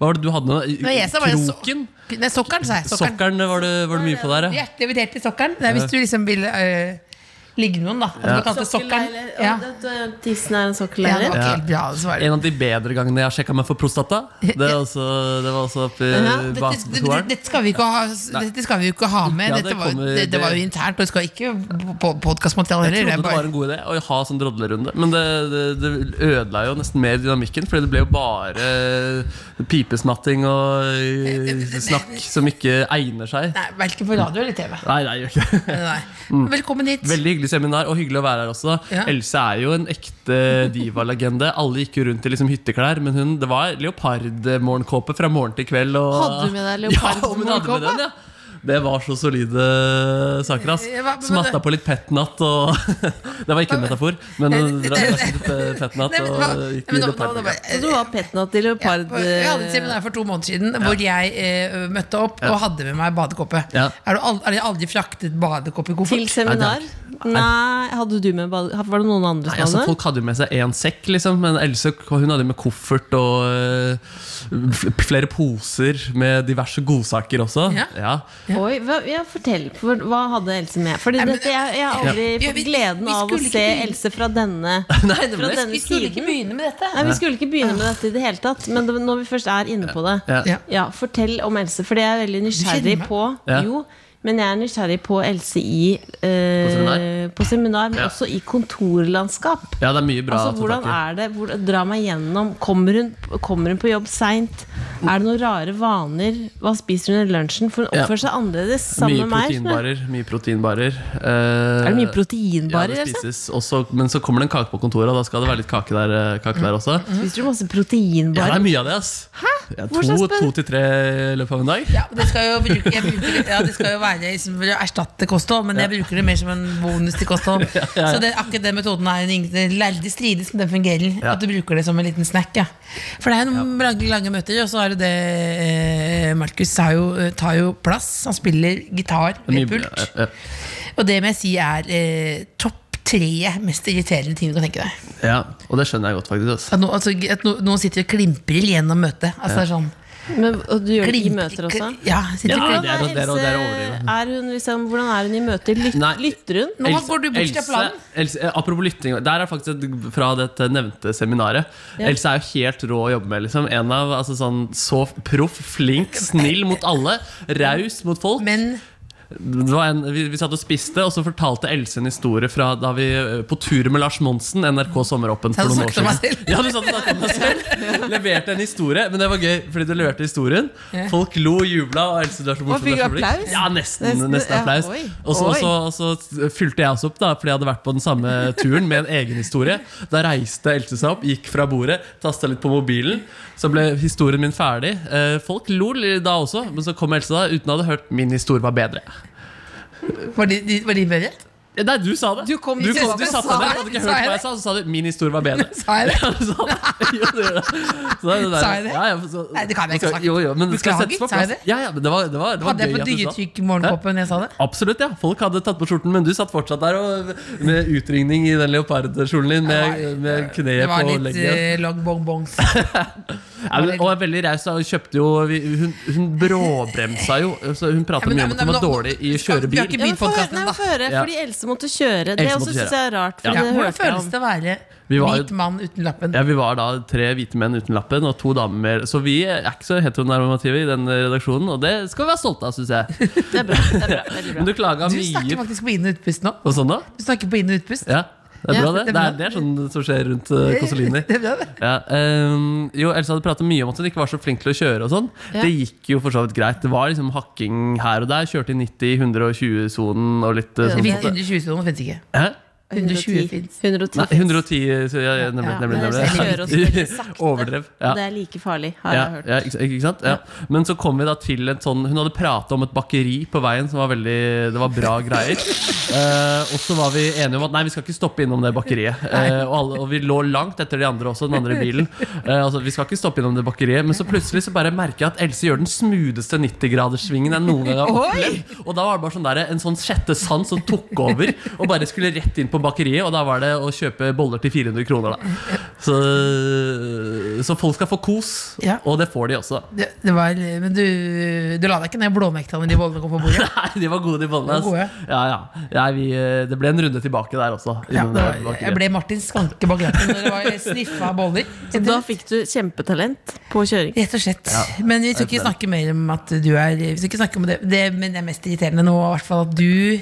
Hva var det du hadde nå?
var jeg som var-
Kroken?
Nei, sokkelen, sa jeg. Sokkeren.
Sokkelen var, det- var det mye på der, ja.
Hjertelig invitert til sokkeren. Det er hvis du liksom vil øh, ligge med noen, da. At du kalte det sokkelen.
Sokkelleiler.
Ja.
Å, det- det- Tissen er en
ja, det
sokkelleiler?
var ikke
Ja.
helt bra å svare.
En av de bedre gangene jeg har sjekka meg for prostata. Det, er også, det var også oppi
Ja,
Dette,
basen eh, på
dette,
toeren.
dette, skal vi ikke ha, dette skal vi jo ikke ha med.
Ja, det
Dette var,
kommer-
det, det var jo internt, og det skal ikke på podkastmateriale
Jeg
heller. Det er
trodde det var
bare-
en god idé å ha sånn drodlerunde, men det, det, det ødela jo nesten mer dynamikken. Fordi det ble jo bare pipesmatting og eh, snakk som ikke egner seg.
Nei, Verken på radio eller TV.
Nei, nei, gjør ikke det.
Nei. Velkommen hit.
Mm. Veldig hyggelig seminar, og hyggelig å være her også.
Ja.
Else er jo en ekte divalegende. Alle gikk jo rundt i liksom hytteklær, men hun, det var leopardmorgenkåpe fra morgen til kveld. Og,
Hadde du med deg
Ja, hun hadde med
leopardmorgenkåpe?
den, ja. Det var så solide saker, ass.
Ja, hva- men-
Smatta på litt petnat og Det var ikke en metafor, men hun drakk litt eh, petnat
Nei, men
og
hva-
gikk
men nå- nå- nå
i leopardmorgenkåpe.
bare-
Så du var petnat i leopard...
Ja, jeg hadde et seminar for to måneder siden hvor jeg eh, møtte opp og hadde med meg badekåpe.
Ja.
Er du al- Har de aldri fraktet badekåpe i
Til
koffert?
seminar? Nei, hadde du med ball... Var det noen andre
Nei,
som
altså
hadde?
Folk hadde jo med seg én sekk, liksom, men Else hun hadde med koffert og øh, f- flere poser med diverse godsaker også.
Ja.
Oi, hva, ja, fortell, for, hva hadde Else med? Fordi
Nei, men-
dette, jeg, jeg har aldri
Ja,
fått
vi-
gleden
vi
av å
skulle ikke
se
begynne.
Else fra denne, fra denne siden.
begynne med dette.
Nei, Vi skulle ikke begynne med dette i det hele tatt, men det, når vi først er inne på det
Ja.
Ja.
Ja, Fortell om Else, for det er jeg veldig nysgjerrig
kjenner meg.
på.
Ja.
Jo, men jeg er nysgjerrig på Else i eh,
På seminar?
på seminar, men
Ja.
også i kontorlandskap.
ja, det er mye bra.
Altså,
å ta
hvordan
tak i.
er det? Hvor, dra meg gjennom. Kommer hun, kommer hun på jobb seint? Er det noen rare vaner? Hva spiser hun i lunsjen? For hun
Ja.
oppfører seg annerledes sammen
mye
med meg. skjønner du.
proteinbarer. Mye proteinbarer. Eh,
Er det mye
Ja,
proteinbarer?
det
altså?
spises også, men så kommer det en kake på kontoret, og da skal det være litt kake der, øh, kake der også.
Spiser du masse
Ja, det
proteinbarer?
er mye av det, ass. Ja,
Mm. Hvor skal
to,
jeg
to til tre i løpet av en dag.
Ja, det skal jo, bruke, jeg bruker, det- ja, det skal jo være liksom, for å erstatte kosthold, men jeg bruker det mer som en bonus til kosthold. Så det, akkurat den metoden er en ingen- det er veldig strides, men den fungerer.
Ja.
At du bruker det som en liten snack. Ja. For det er jo noen lange, lange møter, og så er det det eh, Markus er jo, tar jo plass. Han spiller gitar
Mye-
ved pult.
ja,
Og det må jeg si er eh, topp tre mest irriterende ting du kan tenke deg.
ja. ja, og det skjønner jeg godt, faktisk. Ass.
At, no, altså, at no, noen sitter og klimprer gjennom møtet. Altså, det er sånn,
Men, og du gjør det i
klimprer-
møter også?
Ja, sitter og
Ja,
klimprer.
det er- det er- det er å overdrive.
er hun liksom, hvordan er hun i møter? Lyt,
Nei.
lytter hun?
Nå
Else-
går du bort fra
Else-
planen.
Else, eh, apropos lytting, der er faktisk et, fra dette nevnte seminaret. Else er jo helt rå å jobbe med. Liksom. En av altså, sånn, Så proff, flink, snill mot alle. Raus mot folk.
Men
Det var en, vi, vi satt og spiste, og så fortalte Else en historie fra da vi eh, på tur med Lars Monsen, NRK
Så
Sommeråpen, for
hadde
noen år
du snakket om
siden.
meg selv.
Ja, du satt og snakket om deg selv. Leverte en historie, men det var gøy, fordi du leverte historien. Folk lo, jubla, og Else du er så morsom.
Og fikk
du er så flink.
applaus?
Ja, nesten,
Nesten,
nesten,
ja,
applaus.
oi,
Og så-
oi.
og så og så fylte jeg oss opp, da fordi jeg hadde vært på den samme turen med en egen historie. Da reiste Else seg opp, gikk fra bordet, tasta litt på mobilen. Så ble historien min ferdig. Eh, Folk lo litt da også, men så kom Else da uten å ha hørt min historie var bedre.
var de, de, var de bedre?
Eh, Nei, du sa det.
Du kom-
du,
du sa
du
det,
satte
sa
deg ned,
det,
hadde ikke
sa jeg
hørt hva
det?
jeg sa, så sa du 'min historie var bedre'.
Sa jeg det?
Ja, du sa det. Jo, du gjorde det. Så det er det der-
Sa jeg det?
Ja, ja, så,
Nei, det kan jeg ikke ha sagt.
Jo, jo, men det skal
Beklager,
settes på
sa jeg
plass.
det?
Ja, ja, men det var, det var, det var
Hadde jeg
gøy
på
at du sa det.
dyretrykk morgenkåpe når jeg sa det?
Absolutt, ja. Folk hadde tatt på skjorten, men du satt fortsatt der og, med utringning i den leopardkjolen din med, med
Det
kneet på
var litt
leggen.
eh, long bongbongs.
Ja, men- og er veldig raus. da. Hun kjøpte jo vi- Hun, hun bråbremsa jo. Så hun prata
Ja, men-
mye
ja,
om
men-
at hun
men-
var dårlig i å kjøre
Vi har
bil.
ikke
Ja, men
begynt
få høre,
podkasten
nei,
ennå.
få høre,
Ja.
fordi Else måtte kjøre. Det
Else
også
måtte
syns
kjøre.
jeg er rart. For
Ja.
det
Hvordan
hørte jeg
føles
om.
det å være
Vi var jo-
hvit mann uten lappen?
Ja, Vi var da tre hvite menn uten lappen og to damer med Så vi er ikke så heteronormative i den redaksjonen, og det skal vi være stolte av, syns jeg.
Det er bra. Det er bra, veldig
Men
bra.
du klaga
Du snakker
mye
faktisk på inn- og utpust nå.
og sånn da?
Du snakker på inn- og utpust.
Ja, det er
Ja,
bra, det.
det er
Det
bra.
er, det er sånn som skjer rundt uh, Kosolini.
Det er bra, det.
Ja, ehm, jo, Elsa hadde pratet mye om at hun ikke var så flink til å kjøre. og sånn
Ja.
Det gikk jo for så vidt greit. Det var liksom hakking her og der. Kjørte i 90, 120-sonen og litt eh,
Ja,
Det
sånn.
finnes under 20 soner, finnes ikke.
Hæ?
120 fins.
110
Nei,
fins.
110 så ja, ja,
Ja,
Nemlig. nemlig,
men jeg skal kjøre oss
nemlig.
veldig sakte.
Overdrev. Ja.
Det er like farlig, har
Ja,
jeg hørt.
ja, ikke ikke sant? Ja. Men så kom vi da til et sånn Hun hadde prata om et bakeri på veien som var veldig Det var bra greier. Eh, og så var vi enige om at nei, vi skal ikke stoppe innom det bakeriet. Eh, og, alle, og vi lå langt etter de andre også, den andre bilen. Eh, altså, vi skal ikke stoppe innom det bakeriet Men så plutselig så bare merker jeg at Else gjør den smootheste 90-graderssvingen jeg noen gang har opplevd. Og da var det bare sånn der, en sånn sjette sans som tok over og bare skulle rett inn på bakeriet. Og da var det å kjøpe boller til 400 kroner, da. Så, så folk skal få kos,
Ja.
og det får de også. da.
Det, det var, men du, du la deg ikke ned blåmekta når de bollene kom på bordet?
Nei, de var gode, de bollene.
De var gode.
ass. Ja, ja. Ja, vi, eh, det ble en runde tilbake der også.
Ja,
innom
det
det
var,
bakeriet.
jeg ble Martin Skanke bak lappen når det var sniffa boller.
Så da fikk du kjempetalent på kjøring.
Rett og slett. Men vi skal ikke snakke mer om at du er Vi skal ikke snakke om det, det Men det er mest irriterende nå, i hvert fall at du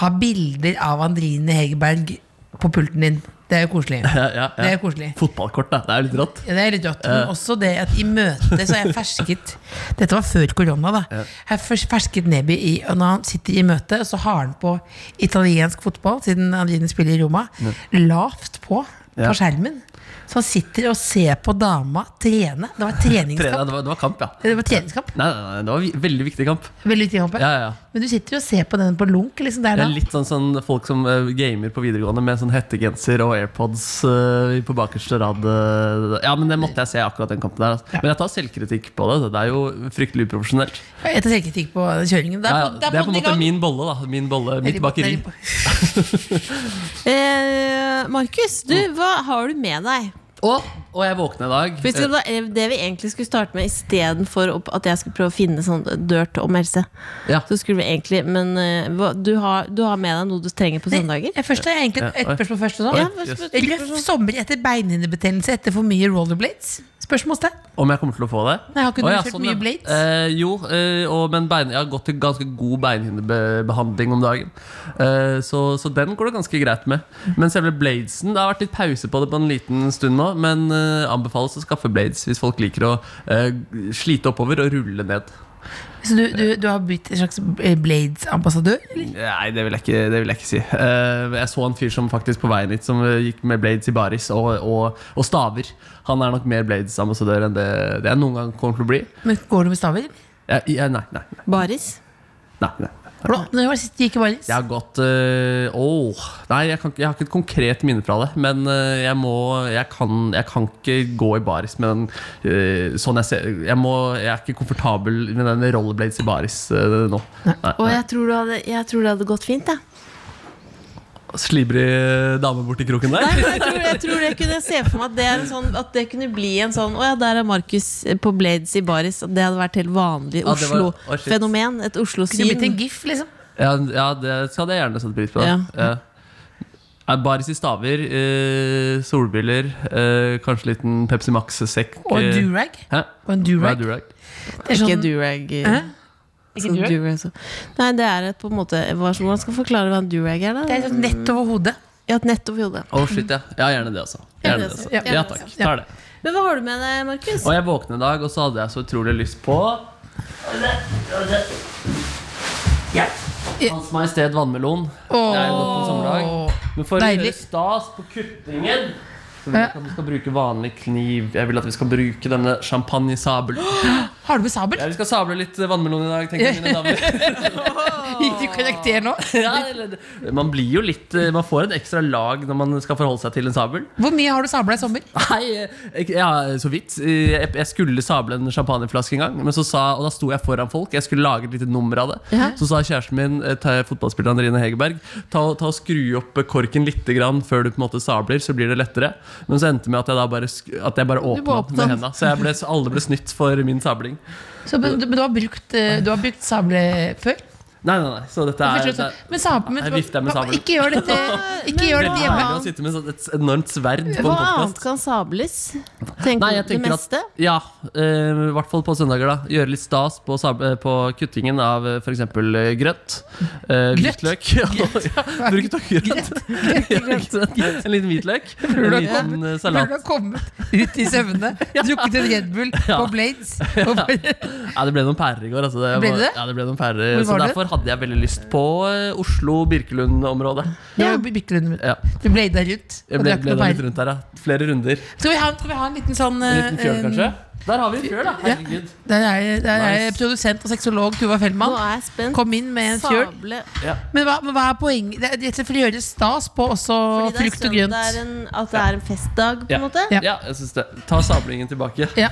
har bilder av Andrine Hegerberg på pulten din. Det er jo koselig.
Ja, ja, ja.
Det er koselig.
Fotballkort, da. Det er jo litt rått.
Ja, det er litt rått. Men også det at i møte så har jeg fersket Dette var før korona, da. Jeg har fers- fersket Neby i og Når han sitter i møte, så har han på italiensk fotball, siden han spiller i Roma, lavt på
Ja.
på skjermen. Så han sitter og ser på dama trene. Det var treningskamp.
Trening, det, var, det var kamp, ja.
Det var treningskamp.
Nei, nei, nei, det var vi- veldig viktig kamp.
Veldig viktig kamp.
Ja, ja, ja.
Men du sitter jo og ser på den på lunk. Liksom, der,
Det
da.
er litt sånn, sånn folk som eh, gamer på videregående med sånn hettegenser og airpods eh, på bakerste rad. eh, ja, men det måtte jeg se akkurat den kampen der. Altså. Men jeg tar selvkritikk på det. Det er jo fryktelig uprofesjonelt.
Jeg tar selvkritikk på kjøringen.
Ja,
Der,
ja, det er på en måte min bolle, da. Min bolle, mitt bakeri.
Eh, Markus, du,
Mm.
hva har du med deg?
Og, og jeg våkner i dag.
Hvis det, var eh, det vi egentlig skulle starte med istedenfor at jeg skulle prøve å finne sånn dirt om Else.
Eh, ja.
Så skulle vi egentlig Men eh, hva, du, har, du har med deg noe du trenger på søndager?
Jeg først har jeg egentlig
Ja,
et
oi.
spørsmål først. Også.
Ja,
yes.
hva-
Røff sommer etter beinhinnebetennelse etter for mye rollerblades? Spørsmålstegn.
Om jeg kommer til å få det?
Nei, har ikke du
Å, ja,
kjørt
sånn,
mye
ja.
blades?
Eh, jo, eh, og, men bein, jeg har gått til ganske god beinhinnebehandling om dagen. Eh, så, så den går det ganske greit med. Men selve bladesen Det har vært litt pause på det på en liten stund nå, men eh, anbefales å skaffe blades hvis folk liker å eh, slite oppover og rulle ned.
Så du, du, du har blitt en slags eh, Blades-ambassadør? eller?
Nei, det vil jeg ikke, det vil jeg ikke si. Eh, jeg så en fyr som faktisk på veien hit som eh, gikk med blades i baris og, og, og staver. Han er nok mer blades-ambassadør enn det, det jeg noen gang kommer til å bli.
Men går du med staver?
Jeg, jeg, nei, nei, nei,
Baris?
nei, nei.
Blå. Når var det sist du gikk i baris?
Jeg har gått øh, åh, Nei, jeg, kan, ikke- jeg har ikke et konkret minne fra det. Men øh, jeg må jeg kan, jeg kan ikke gå i baris med den øh, sånn jeg ser jeg, må, jeg er ikke komfortabel med den rollerblades i baris øh, nå. Nei,
Og jeg tror, du hadde, jeg tror det hadde gått fint, jeg.
Slibrig dame borti kroken
Nei,
der.
men jeg, tror, jeg tror det kunne jeg se for meg at det, er en sånn, at det kunne bli en sånn Å ja, der er Markus eh, på Blades i baris. At det hadde vært helt vanlig
Ja, det var- å, shit.
Oslo-fenomen. Et
Kunne blitt en
Oslo-syn.
gif, liksom.
Ja, ja det så hadde jeg gjerne satt pris på.
Ja.
Ja. Nei, Baris i staver, øh, solbriller, øh, kanskje liten Pepsi Max-sekk.
Og en
øh,
durag.
Hæ?
Og en
Hva
durag.
er durag?
Det er
Ikke
sånn,
durag.
Hæ?
Sånn durag, så. Nei, det er et på en måte hva- Hvordan skal man forklare hva en durag er,
det
da?
er sånn nett over hodet.
Ja, et nett over hodet.
Å, shit, ja. Ja, gjerne det, altså. Gjerne det, altså.
Ja,
Ja takk. Tar det.
Men hva har du med deg, Markus?
Og jeg våknet i dag, og så hadde jeg så utrolig lyst på Ja. Hans Majestet Vannmelon. Det er jo godt en sommerdag. Men for å
Deilig.
gjøre stas på kuttingen så vil jeg ikke at vi skal bruke vanlig kniv. Jeg vil at vi skal bruke denne champagnesabelen.
Har du med sabel?
Ja, vi skal sable litt vannmelon i dag, tenker jeg, mine damer.
Gikk du i karakter nå?
Ja, eller- man blir jo litt eh, Man får et ekstra lag når man skal forholde seg til en sabel.
Hvor mye har du sabla i sommer?
Nei, jeg, ja, så vidt. Jeg, jeg skulle sable en champagneflaske en gang, men så sa, og da sto jeg foran folk. Jeg skulle lage et lite nummer av det. Så sa kjæresten min, eh, ta, fotballspilleren Rine Hegerberg, ta, ta og skru opp korken litt grann før du på en måte sabler, så blir det lettere. Men så endte det med at jeg da bare, sk- at jeg bare åpna
åpnet
med
den.
henda. Så jeg ble, så alle ble snytt for min sabling.
Så, men du, men du har brukt, eh, du har brukt sable før?
Nei, nei, nei. Så dette er,
Forstår du
det
sånn?
er
Men sabel, men,
Jeg vifter med sabelen.
ikke gjør dette, ikke gjør
veldig
dette
deilig å
hjemme.
sitte med sånn et enormt sverd på en
Hva
podkast.
annet kan sables? Tenker du
Nei, jeg
det
tenker at
meste?
Ja, eh, i hvert fall på søndager. da Gjøre litt stas på, sab- eh, på kuttingen av eh, for eksempel eh, grønt.
Grøt?
Eh, Hvitløk. Ja, Bruke tågrønt. Ja, grønt. En liten hvitløk. En
Burde ha
liten eh,
kommet, burde
salat.
ha kommet ut i søvne, drukket en Red Bull på
Ja.
Blades. Og bare,
Ja, det ble noen pærer i går. Altså, det
Ble
var-
det det?
Ja, det ble noen pærer
Hvor
Så
var du?
derfor hadde jeg veldig lyst på eh, Oslo-Birkelund-området.
ja, bytte rundt.
Ja,
Du ble der ut.
jeg
og
ble,
drakk
ble
noe
da litt
peil.
rundt der, ja. Flere runder.
Skal vi ha, skal vi ha en liten sånn
En liten fjøl,
eh,
kanskje. Der har vi en fjøl, da.
ja.
Herregud.
Der er, jeg- der er jeg
Nice.
produsent og sexolog Tuva
Nå
Fellmann.
er jeg spent.
Kom inn med en fjøl.
Sable
Men hva, men hva er poenget? Det er rett og slett for å gjøre stas på også
Fordi det er
frukt
søndag,
og
det er
grønt.
en, At det er en festdag, på en
Ja.
måte?
Ja.
Ja, jeg syns det. Ta sablingen tilbake.
Ja.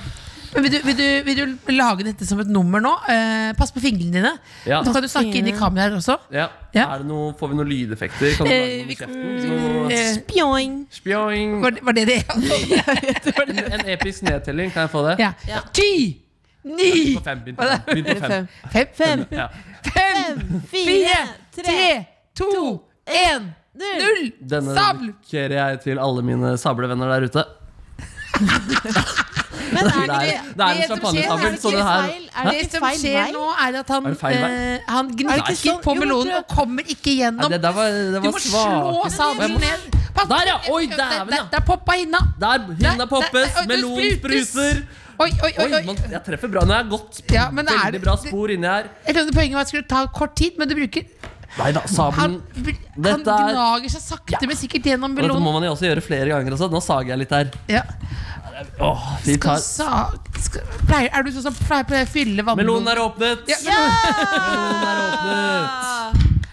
Men vil, du, vil, du, vil du lage dette som et nummer nå? Eh, pass på fingrene dine.
Ja.
Nå kan du snakke inn i kameraet også.
Ja.
Ja.
Er det noe, får vi noen lydeffekter? Kan du
Eh, vi-
lage noe med kjeften? Noe
Eh,
Spjoing.
Spjoing.
var, det- var det det?
En episk nedtelling, kan jeg få det?
Ja. Ti, ni,
På fem, begynn på fem. Begynn på fem.
fem, fem,
Ja.
fem, fire, tre, to, én,
null.
null.
Denne
Sabel!
dedikerer jeg til alle mine sablevenner der ute.
Men er det,
Det er, det er en
det som skjer,
er det
champagnesabel,
ikke
så det her
feil? Er det
Det
ikke
som
feil
skjer
vei?
nå, er at han,
Er det feil vei?
eh, han
Er det
gnasker
ikke sånn?
på
Jo,
melonen
det-
og kommer ikke
Nei,
gjennom.
Det der var, det
Du
var
må slå
svake
sabelen ned.
Der, ja! Oi, dæven, ja!
Der, der poppa hinna!
Der,
Der,
Hinna
der,
poppes,
oi, det
melon
sprutes.
spruter.
Oi, oi, oi.
Oi,
oi.
man, jeg treffer bra. Nå har jeg gått
Ja, men det er-
veldig bra spor inni her.
Jeg trodde poenget var at det skulle ta kort tid, men du bruker
Nei da,
Han,
sabelen
han
Mm. Dette er-
gnager seg sakte, men sikkert gjennom
Dette må
melonen.
man jo også gjøre flere ganger. Også. Nå sager jeg litt her.
Ja.
Åh, vi
Skal
tar
sag... Skal, pleier, er du sånn som pleier, pleier å fylle
Melonen
vannmelonen?
er åpnet!
Ja, melon.
Melonen er åpnet!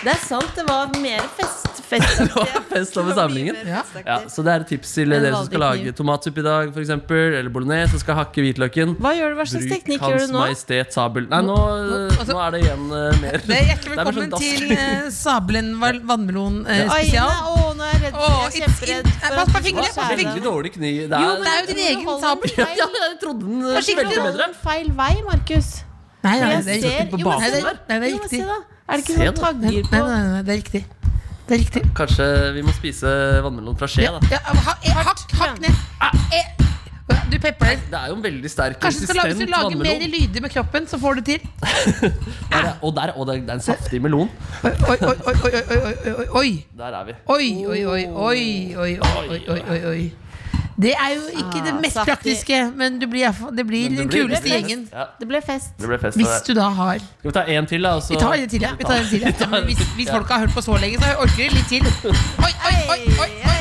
Det er sant, det var mer fest. fest.
Det var fest over samlingen.
Ja.
Ja, så det er et tips til
En
dere som skal
valgteknikk.
lage tomatsuppe i dag, for eksempel Eller bolognese, som skal hakke hvitløken.
Hva gjør du, hva slags
Bruk
teknikk gjør
Hans
du nå?
Majestet sabel. Nei, nå,
altså-
nå er det igjen eh, mer.
Det er Hjertelig
Det er bare sånn
velkommen
dass-
til eh, Sabelen val- vannmelon eh,
Oi,
spesial.
nei, å, nå er jeg redd.
Å,
jeg er
it's in-
kjemperedd. for
Pass
at
på
du
fingrene,
skal sånn. skjære
pass på
Det er
fingrene.
veldig dårlig kni. Det
Jo,
er,
Det er jo din
Men du
egen
holder
sabel.
den feil.
ja, jeg trodde den eh,
Kanskje ikke
Du
det var
smelte bedre.
holder den feil vei, Markus.
Nei, nei,
Jeg
det er
ser-
riktig.
jo, men
Nei,
se
det,
da.
nei, det er
Jo, men
riktig.
se da. Er det ikke sånn
Se da.
Nei,
tagger
nei,
på?
nei, nei, det er riktig. Det er riktig.
Kanskje vi må spise vannmelon fra skje,
Ja,
da. Ah.
ja, ha, eh, hakk, hakk ned. Eh, Du pepper deg.
Det er jo en veldig sterk
Kanskje du skal lage, hvis du
konsistent
lager mer
vannmelon.
lyder med kroppen, så får du til.
Der, ja. og der, og det er- det er en saftig melon.
Oi, oi, oi, oi, oi, oi, oi, oi, oi.
Der er vi.
Oi, oi, oi, oi, oi, oi, oi, oi, oi, oi. Det er jo ikke det mest
saftig.
praktiske, men du blir, i hvert fall- det blir
Men det
den
blir-
kuleste
det blir-
gjengen.
Ja,
Det ble fest.
det ble fest.
Hvis
det
du da har
der. Skal vi ta en til, da? og så-
Vi tar en til, ja. Vi tar en til, ja. Men hvis hvis folk har hørt på så lenge, så orker de litt til. Oi, oi, oi, oi, oi, oi.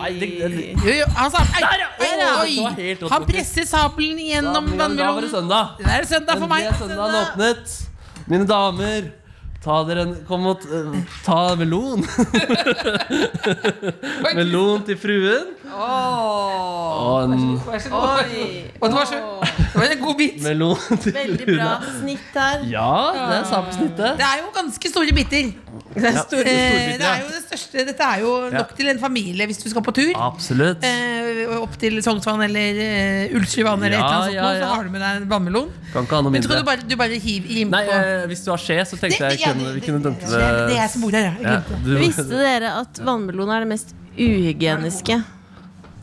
Nei, det, det,
Jo, jo, han sa ei,
Der, ja! Oi,
oi,
det var
oi.
helt rått,
Han
Markus.
presser sabelen gjennom
Da var det
vannmelonen.
søndag.
Det er søndag for
Men
meg.
Det er søndagen åpnet. Mine damer, ta dere en Kom og t- eh, ta melon. melon til fruen. Og en
Vær så god. Og det var så Det var en god bit.
melon til
Veldig bra
fruen.
snitt her.
Ja, det er samme snittet.
Det er jo ganske store biter.
Ja,
Eh,
storbiter,
Det er jo
ja.
det største Dette er jo nok til en familie hvis du skal på tur.
Absolutt.
Eh, opp til Sognsvann eller eh, Ullsjøvann eller et
Ja,
eller annet sånt,
ja,
nå,
ja.
så har du med deg en vannmelon.
Kan ikke ha noe
Men tror du
mindre.
bare, du bare hiver inn
Nei,
på
eh, hvis du har skje, så tenkte jeg
ja,
kunne, vi kunne dumpe
det. Det er jeg som bor her, ja. Jeg
Ja,
glemte det.
du-
Visste dere at vannmelon er det mest uhygieniske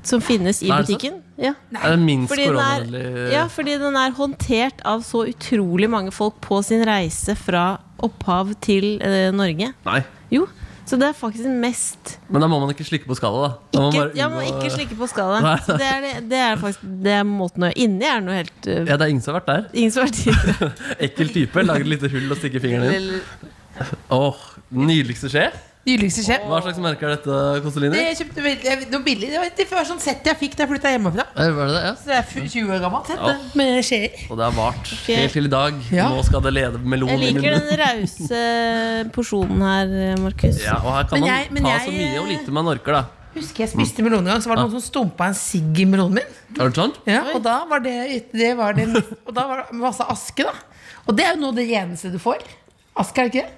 som finnes i
Er det sant?
butikken? Ja.
Er det minst
Fordi den,
koronavennlig
er, ja, fordi den er håndtert av så utrolig mange folk på sin reise fra opphav til eh, Norge.
Nei.
Jo, så det er faktisk den mest
Men da må man ikke slikke på skallet, da. da må
ikke,
man bare
Ja, man må
unngå-
ikke slikke på skallet.
Nei.
Så det er, det, det er faktisk det er måten å Inni er noe helt eh,
Ja, det er ingen som har vært der.
Ingen som har tid.
Ekkel type. Lager et lite hull og stikker fingeren inn. Åh, Nydeligste skje.
Nyligste sjef.
Hva slags merke er dette,
Det
Kosteliner?
jeg kjøpte veldig, jeg- noe billig. Det var det var sånn sett jeg fikk da jeg flytta hjemmefra.
Var det det, ja?
Så det er fu- 20 år gammelt sett,
Ja.
det, med skjeer.
Og det har vart helt til i dag.
Ja.
Nå skal det lede melon i
Jeg liker
munnen.
den rause porsjonen her, eh, Markus.
Ja, og her
Men
kan man
jeg- men
ta
jeg-
så mye og lite man orker, da.
Husker jeg spiste melon en gang, så var det noen som stumpa en sigg i melonen min.
Er det sånn?
Ja, og da var det, det, var det Og da var det masse aske, da. Og det er jo noe av det reneste du får. Aske, er det ikke det?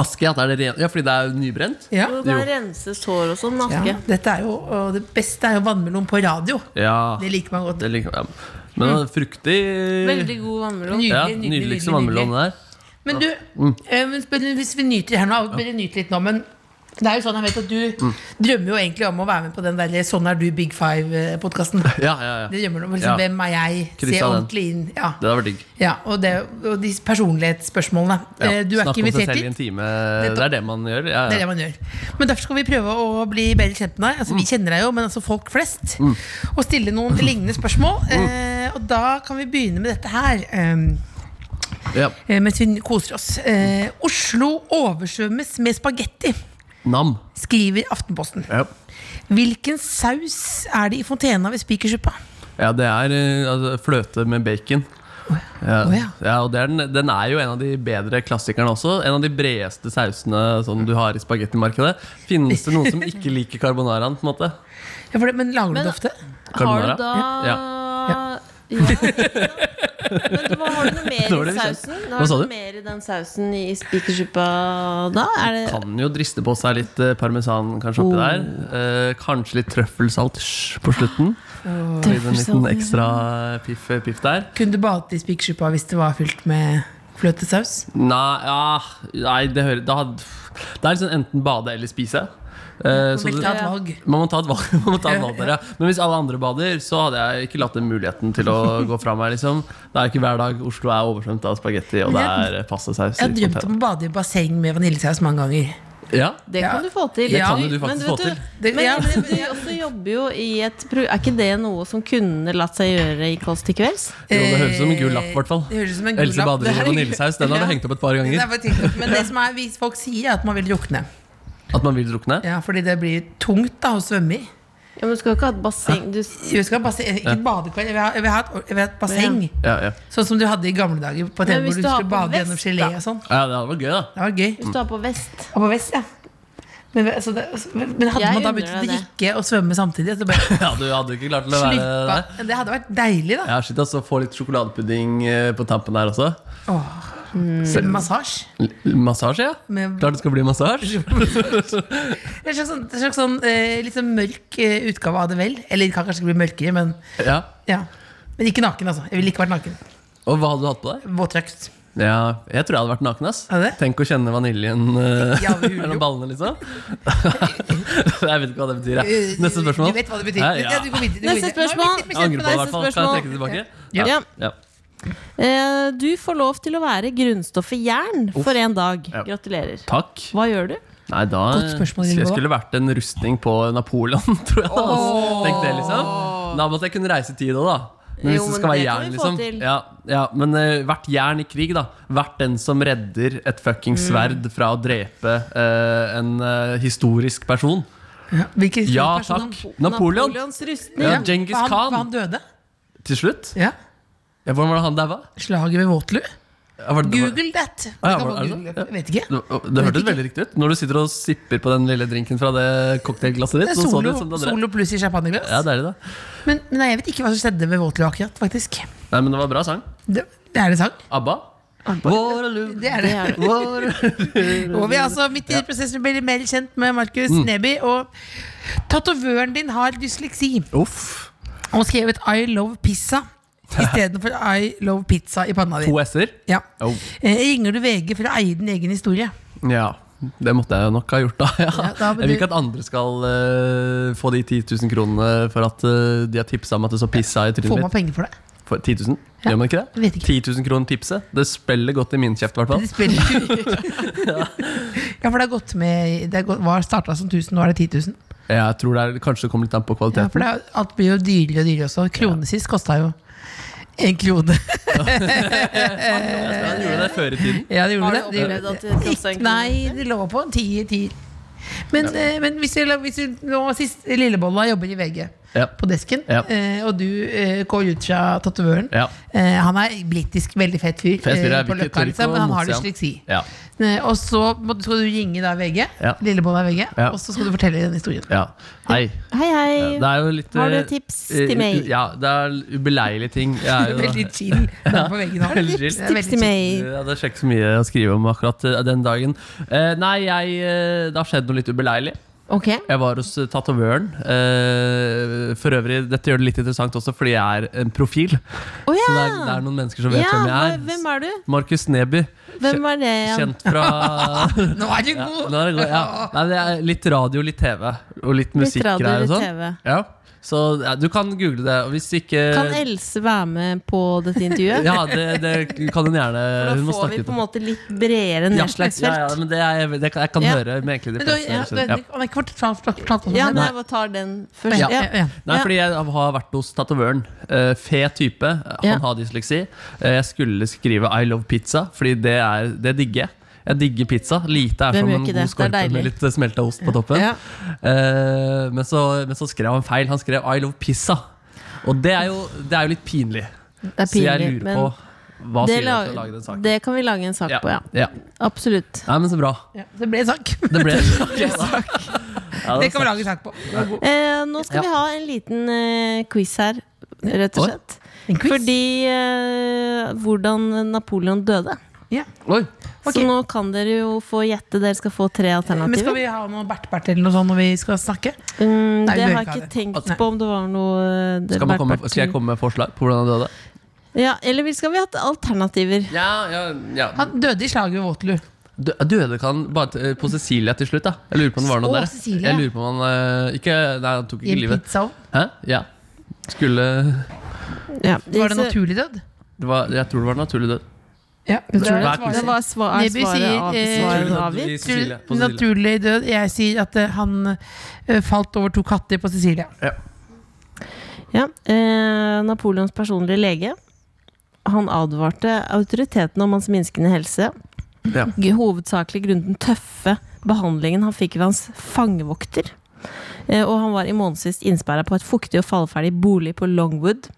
Aske, at er det ren... Ja, fordi det er jo nybrent?
Ja.
Jo,
Jo.
Bare rense sår og sånn med
Ja,
aske.
dette er jo, og det beste er jo vannmelon på radio.
Ja.
Det Mm. liker man godt.
Det liker ja. Men det er fruktig
Veldig god vannmelon.
Nydelig,
ja,
nydelig,
Nydeligste
nydelig,
vannmelon der.
nydelig. Men du,
Mm.
eh, men spør- hvis vi nyter her nå, bare nyt litt nå, men det er jo sånn, jeg vet at du
Mm.
drømmer jo egentlig om å være med på den der Sånn er du Big Five-podkasten.
Ja, ja,
Det
ja.
drømmer du om.
Ja.
Liksom, Hvem er jeg? Se
Kryssa den.
ordentlig inn. Ja.
Det hadde vært digg.
ja og, det, og de personlighetsspørsmålene.
Ja.
Eh, Du er ikke
Snakke om seg
invitert
selv i
dit.
en time.
Nettopp.
Det er det man gjør. Ja,
Det er
ja.
det man gjør. Men derfor skal vi prøve å bli bedre kjent med deg. Altså,
Mm.
vi kjenner deg jo, men altså folk flest. Og stille noen lignende spørsmål.
Mm.
Eh, og da kan vi begynne med dette her. Eh,
Ja.
Eh, mens vi koser oss. Eh, Oslo oversvømmes med spagetti,
Nam.
skriver Aftenposten.
Ja.
Hvilken saus er det i fontena ved spikersuppa?
Ja, det er eh, altså, fløte med bacon. Ja.
Å ja.
ja, og det er den, den er jo en av de bedre klassikerne også. En av de bredeste sausene som du har i spagettimarkedet. Finnes det noen som ikke liker carbonaraen? på en måte?
Ja, for det, men lager du
Men-
det ofte?
Har
Carbonara?
du da
Ja.
Ja. Men du, hva har du noe mer
Nå ble
i
vi kjent.
sausen?
Hva
har
sa du?
Noe mer i den sausen i spikersuppa da? Er det
Kan jo driste på seg litt eh, parmesan kanskje oppi der.
Oh.
Eh, kanskje litt trøffelsalt hysj, på slutten. Oh. En liten ekstra piff, eh, piff der.
Kunne du bade i spikersuppa hvis det var fylt med fløtesaus?
Nei, ja, nei det, hører, da, det er liksom enten bade eller spise. Eh, så
Hvilket
det-
annet valg?
Man må ta et valg, man må ta et valg der, ja. Men hvis alle andre bader, så hadde jeg ikke latt den muligheten til å gå fra meg. Liksom. Det er jo ikke hver dag Oslo er eh, oversvømt av spagetti, og det er passesaus.
Jeg har drømt om å bade i basseng med vaniljesaus mange ganger.
Ja.
Det kan
Ja.
du få til.
Det kan
jo du faktisk
men
få til.
Det-
Men
ja.
men du også jobber jo i et pro- Er ikke det noe som kunne latt seg gjøre i Kåss til kvelds?
Jo, det høres ut som en gul lapp, i hvert fall.
Det høres ut som en gul
Else
lapp.
bader i
Det er-
vaniljesaus. Den har
Ja.
du hengt opp et par
Det er
ganger.
bare tenkt, men det som er, hvis folk sier at man vil drukne.
At man vil drukne.
Ja, fordi det blir tungt da å svømme i.
Ja, men du skal jo ikke ha et basseng du,
Jeg skal ha basseng, ikke et badekar, jeg vil ha, jeg vil ha, et, jeg vil ha et basseng.
Ja, ja.
Sånn som du hadde i gamle dager på TV,
hvis
hvor du
du har
skulle
på
bade
vest,
gjennom gelé
da?
og sånn.
ja, det hadde vært gøy, da.
Det var gøy.
Hvis du har på vest.
Og på vest, ja. Men, altså, det, altså, men hadde
Jeg
man da
unner
begynt å
deg det.
drikke og svømme samtidig? At det bare
Ja, Du hadde ikke klart å la være
slippa?
der.
Det hadde vært deilig, da.
Ja, shit, altså, Få litt sjokoladepudding eh, på tampen her også.
Svømme Massasje.
L- Massasje, ja.
Med-
Klart det skal bli massasje.
Det er en slags, sånn, det er en slags sånn, eh, litt sånn mørk eh, utgave av det vel. Eller det kan kanskje bli mørkere, men
Ja.
ja. Men ikke naken, altså. Jeg ville ikke vært naken.
Og hva hadde du hatt på deg?
Våtdrakt.
Ja, Jeg tror jeg hadde vært naken. ass
Hadde det?
Tenk å kjenne vaniljen eh,
Ja, men
mellom
jo.
ballene, liksom. jeg vet ikke hva det betyr. Jeg. Neste spørsmål.
Eh, Du vet hva det betyr.
Ja,
Ja,
ja.
du går videre, du
Neste
går videre. Nå er vi
spørsmål.
litt
Jeg
bekjent
angrer
med
på det, i
deg.
hvert fall. Kan jeg trekke det tilbake?
Ja.
Ja.
Ja.
Eh, Du får lov til å være grunnstoffet jern for en dag.
Ja.
Gratulerer.
Takk.
Hva gjør du?
Nei, da
Godt spørsmål, Ringo,
Jeg
da.
skulle vært en rustning på Napoleon, tror jeg. Altså. Tenk det, liksom. Da måtte jeg kunne reise tid òg, da. Men
Jo,
hvis det skal
men
være
det kan
jern,
vi få
liksom.
til.
Ja, ja, men eh, vært jern i krig, da. Vært den som redder
Mm.
et fuckings sverd fra å drepe eh, en eh, historisk person.
Hvilken
Ja
person-
takk. Napoleon.
Napoleons rustning.
Ja, Genghis
For han, for
Khan.
han døde.
Til slutt.
Ja.
Ja, hvordan var det han daua?
Slaget ved Waterloo.
Ja, var det-
Google that! Du
Ah, ja,
kan
var-
bare
er det
google
det?
det. Vet ikke.
Det, det hørtes veldig riktig ut. Når du sitter og sipper på den lille drinken fra det cocktailglasset
Det
ditt.
er
Så så det
solo,
ut som det andre.
solo pluss i champagneglass.
Ja, deilig, da.
men, men nei, jeg vet ikke hva som skjedde ved Waterloo akkurat, faktisk.
Nei, men det var bra sang.
Det, det er en sang.
ABBA. Waterloo.
Det er det. Og vi er altså midt i prosessen blir mer kjent med Markus
Mm.
Neby. Og tatovøren din har dysleksi
Uff.
og skrevet 'I love pizza' istedenfor 'I love pizza' i panna di.
To e- s-er.
Ja.
Oh.
Eh, Ringer du VG for å eie din egen historie?
Ja. Det måtte jeg nok ha gjort, da. Ja.
da, men
jeg vil
du-
ikke at andre skal eh, få de 10 000 kronene for at eh, de har tipsa om at det så pissa i
Får
trynet
man
mitt.
penger for det?
For 10 000? Gjør man ikke det?
vet ikke.
10 000 kroner tipset. Det spiller godt i min kjeft, i hvert fall.
Det spiller Ja, for det har gått med Det har gått- var starta som 1000, nå er det 10 000.
Jeg tror det er, kanskje det kommer litt an på
Ja, for
kvaliteten.
det, er- alt blir jo dyrere og dyrere også. Krone sist kosta jo en krone.
Ja, den gjorde det før i tiden.
Ja, det
Har du
gjorde det.
opplevd at det kostet en krone?
Ikke- Nei, det lå på en tier, tier. Men, eh, men hvis, du, hvis du nå sist Lillebolla jobber i VG
Ja.
på desken,
Ja.
eh, og du eh, går ut fra tatovøren
Ja.
eh, Han er britisk, veldig fet fyr,
Fet fyr,
eh,
jeg
på
vil ikke-
Løkka,
tør ikke
liksom,
å
men han har
motsi han.
dysleksi.
Ja.
Eh, og så må, du- skal du ringe da VG,
Ja.
Lillebolla VG,
Ja.
og så skal du fortelle den historien.
ja. Hei.
Hei,
Ja,
hei.
Det er jo litt
Har du
eh,
tips
eh,
til meg?
Ja, det er ubeleilige ting. Jeg er jo-
Veldig chill navn på veggen nå.
Veldig chill.
Tips
Det er
til
veldig chill.
meg.
Ja, det er ikke så mye å skrive om akkurat eh, den dagen. Eh, nei, jeg, eh, det har skjedd noe litt ubeleilig.
Ok,
Jeg var hos eh, tatovøren. Eh, for øvrig, dette gjør det litt interessant også fordi jeg er en profil.
Å
Så det er,
ja!
det er noen mennesker som vet
ja
hvem jeg er.
hva- hvem er du?
Markus Neby.
Hvem er det? Ja?
Kjent fra
Nå er du
ja,
god!
nå er det god- ja. Nei, det er litt radio, litt TV og litt musikkgreier
radio,
og
litt
sånn.
TV.
Ja. Så ja, du kan google det. Og hvis ikke
Kan Else være med på dette intervjuet?
Eh, Ja, det, det kan hun gjerne.
Da
Hun må
får
snakke
vi
litt
på
om
en måte litt bredere
Ja,
nedslagsfelt.
Ja, ja, men det er, det kan, jeg kan
Ja.
høre med egentlig de
Men du,
fleste.
sånn, ja, du,
Ja.
Han har ikke fått fortalt- fortalt om
Ja,
det.
men jeg bare tar den først.
Ja,
Ja.
ja, ja.
Nei,
Ja.
fordi jeg har vært hos tatovøren. Eh, fe type. Han
Ja.
har dysleksi. Eh, jeg skulle skrive 'I love pizza', fordi det, er, det digger jeg. Jeg digger pizza. Lite er
Hvem
som
gjør ikke
en god
det? Det er
skorpe med
deilig.
litt smelta ost på toppen.
Ja.
Eh, men, så, men så skrev han feil. Han skrev 'I love pizza'. Og det er jo, det er jo litt pinlig.
Det er
Så jeg
pinlig,
lurer
men
på hva
det,
sier dere til å
la-
lage den saken?
det kan vi lage en sak på, ja.
ja.
Absolutt.
Nei, men så bra.
Ja, det ble en sak.
Det ble en sak. Ja,
Det
det
kan vi lage sak på.
Eh, nå skal
Ja.
vi ha en liten eh, quiz her, rett og
Oi.
slett.
En quiz?
Fordi eh, hvordan Napoleon døde.
Ja.
Oi.
Ok.
Så nå kan dere jo få gjette. Dere skal få tre
Men skal
alternativer.
vi ha noe bert-bert eller noe sånt når vi skal snakke?
Mm,
Nei, vi
det
bør
har
ikke
jeg
ha
ikke tenkt
Nei.
på om det var noe eh, det
Skal, man komme,
vært-
skal jeg komme med forslag på hvordan han døde?
Ja, Eller vi- skal vi ha hatt alternativer?
Ja, ja, ja.
Han døde i slaget ved Waterloo.
Dø- Døde ikke han bare til- på Cecilia til slutt? da Jeg lurer på om det var noe
Å,
der.
Cecilia.
Jeg lurer på om han eh, ikke, Nei, han tok
I
ikke
en
livet.
pizzaovn.
Hæ? Ja. Skulle
Ja.
Var det
Så-
naturlig død?
det var, Jeg tror det var naturlig død.
Ja, jeg tror det.
Hva er
Det var svar, er
Nebby sier,
svaret av,
eh,
Tror
svaret
du
avgitt.
naturlig Cecilie? På
Natur-
Cecilie.
Naturlig død. Jeg sier at eh, han eh, falt over to katter på Sicilia.
Ja. Eh, Napoleons personlige lege. Han advarte autoriteten om hans minskende helse.
Ja.
G- Hovedsakelig grunnet den tøffe behandlingen han fikk ved hans fangevokter. Eh, og han var i månedsvis innsperra på et fuktig og falleferdig bolig på Longwood.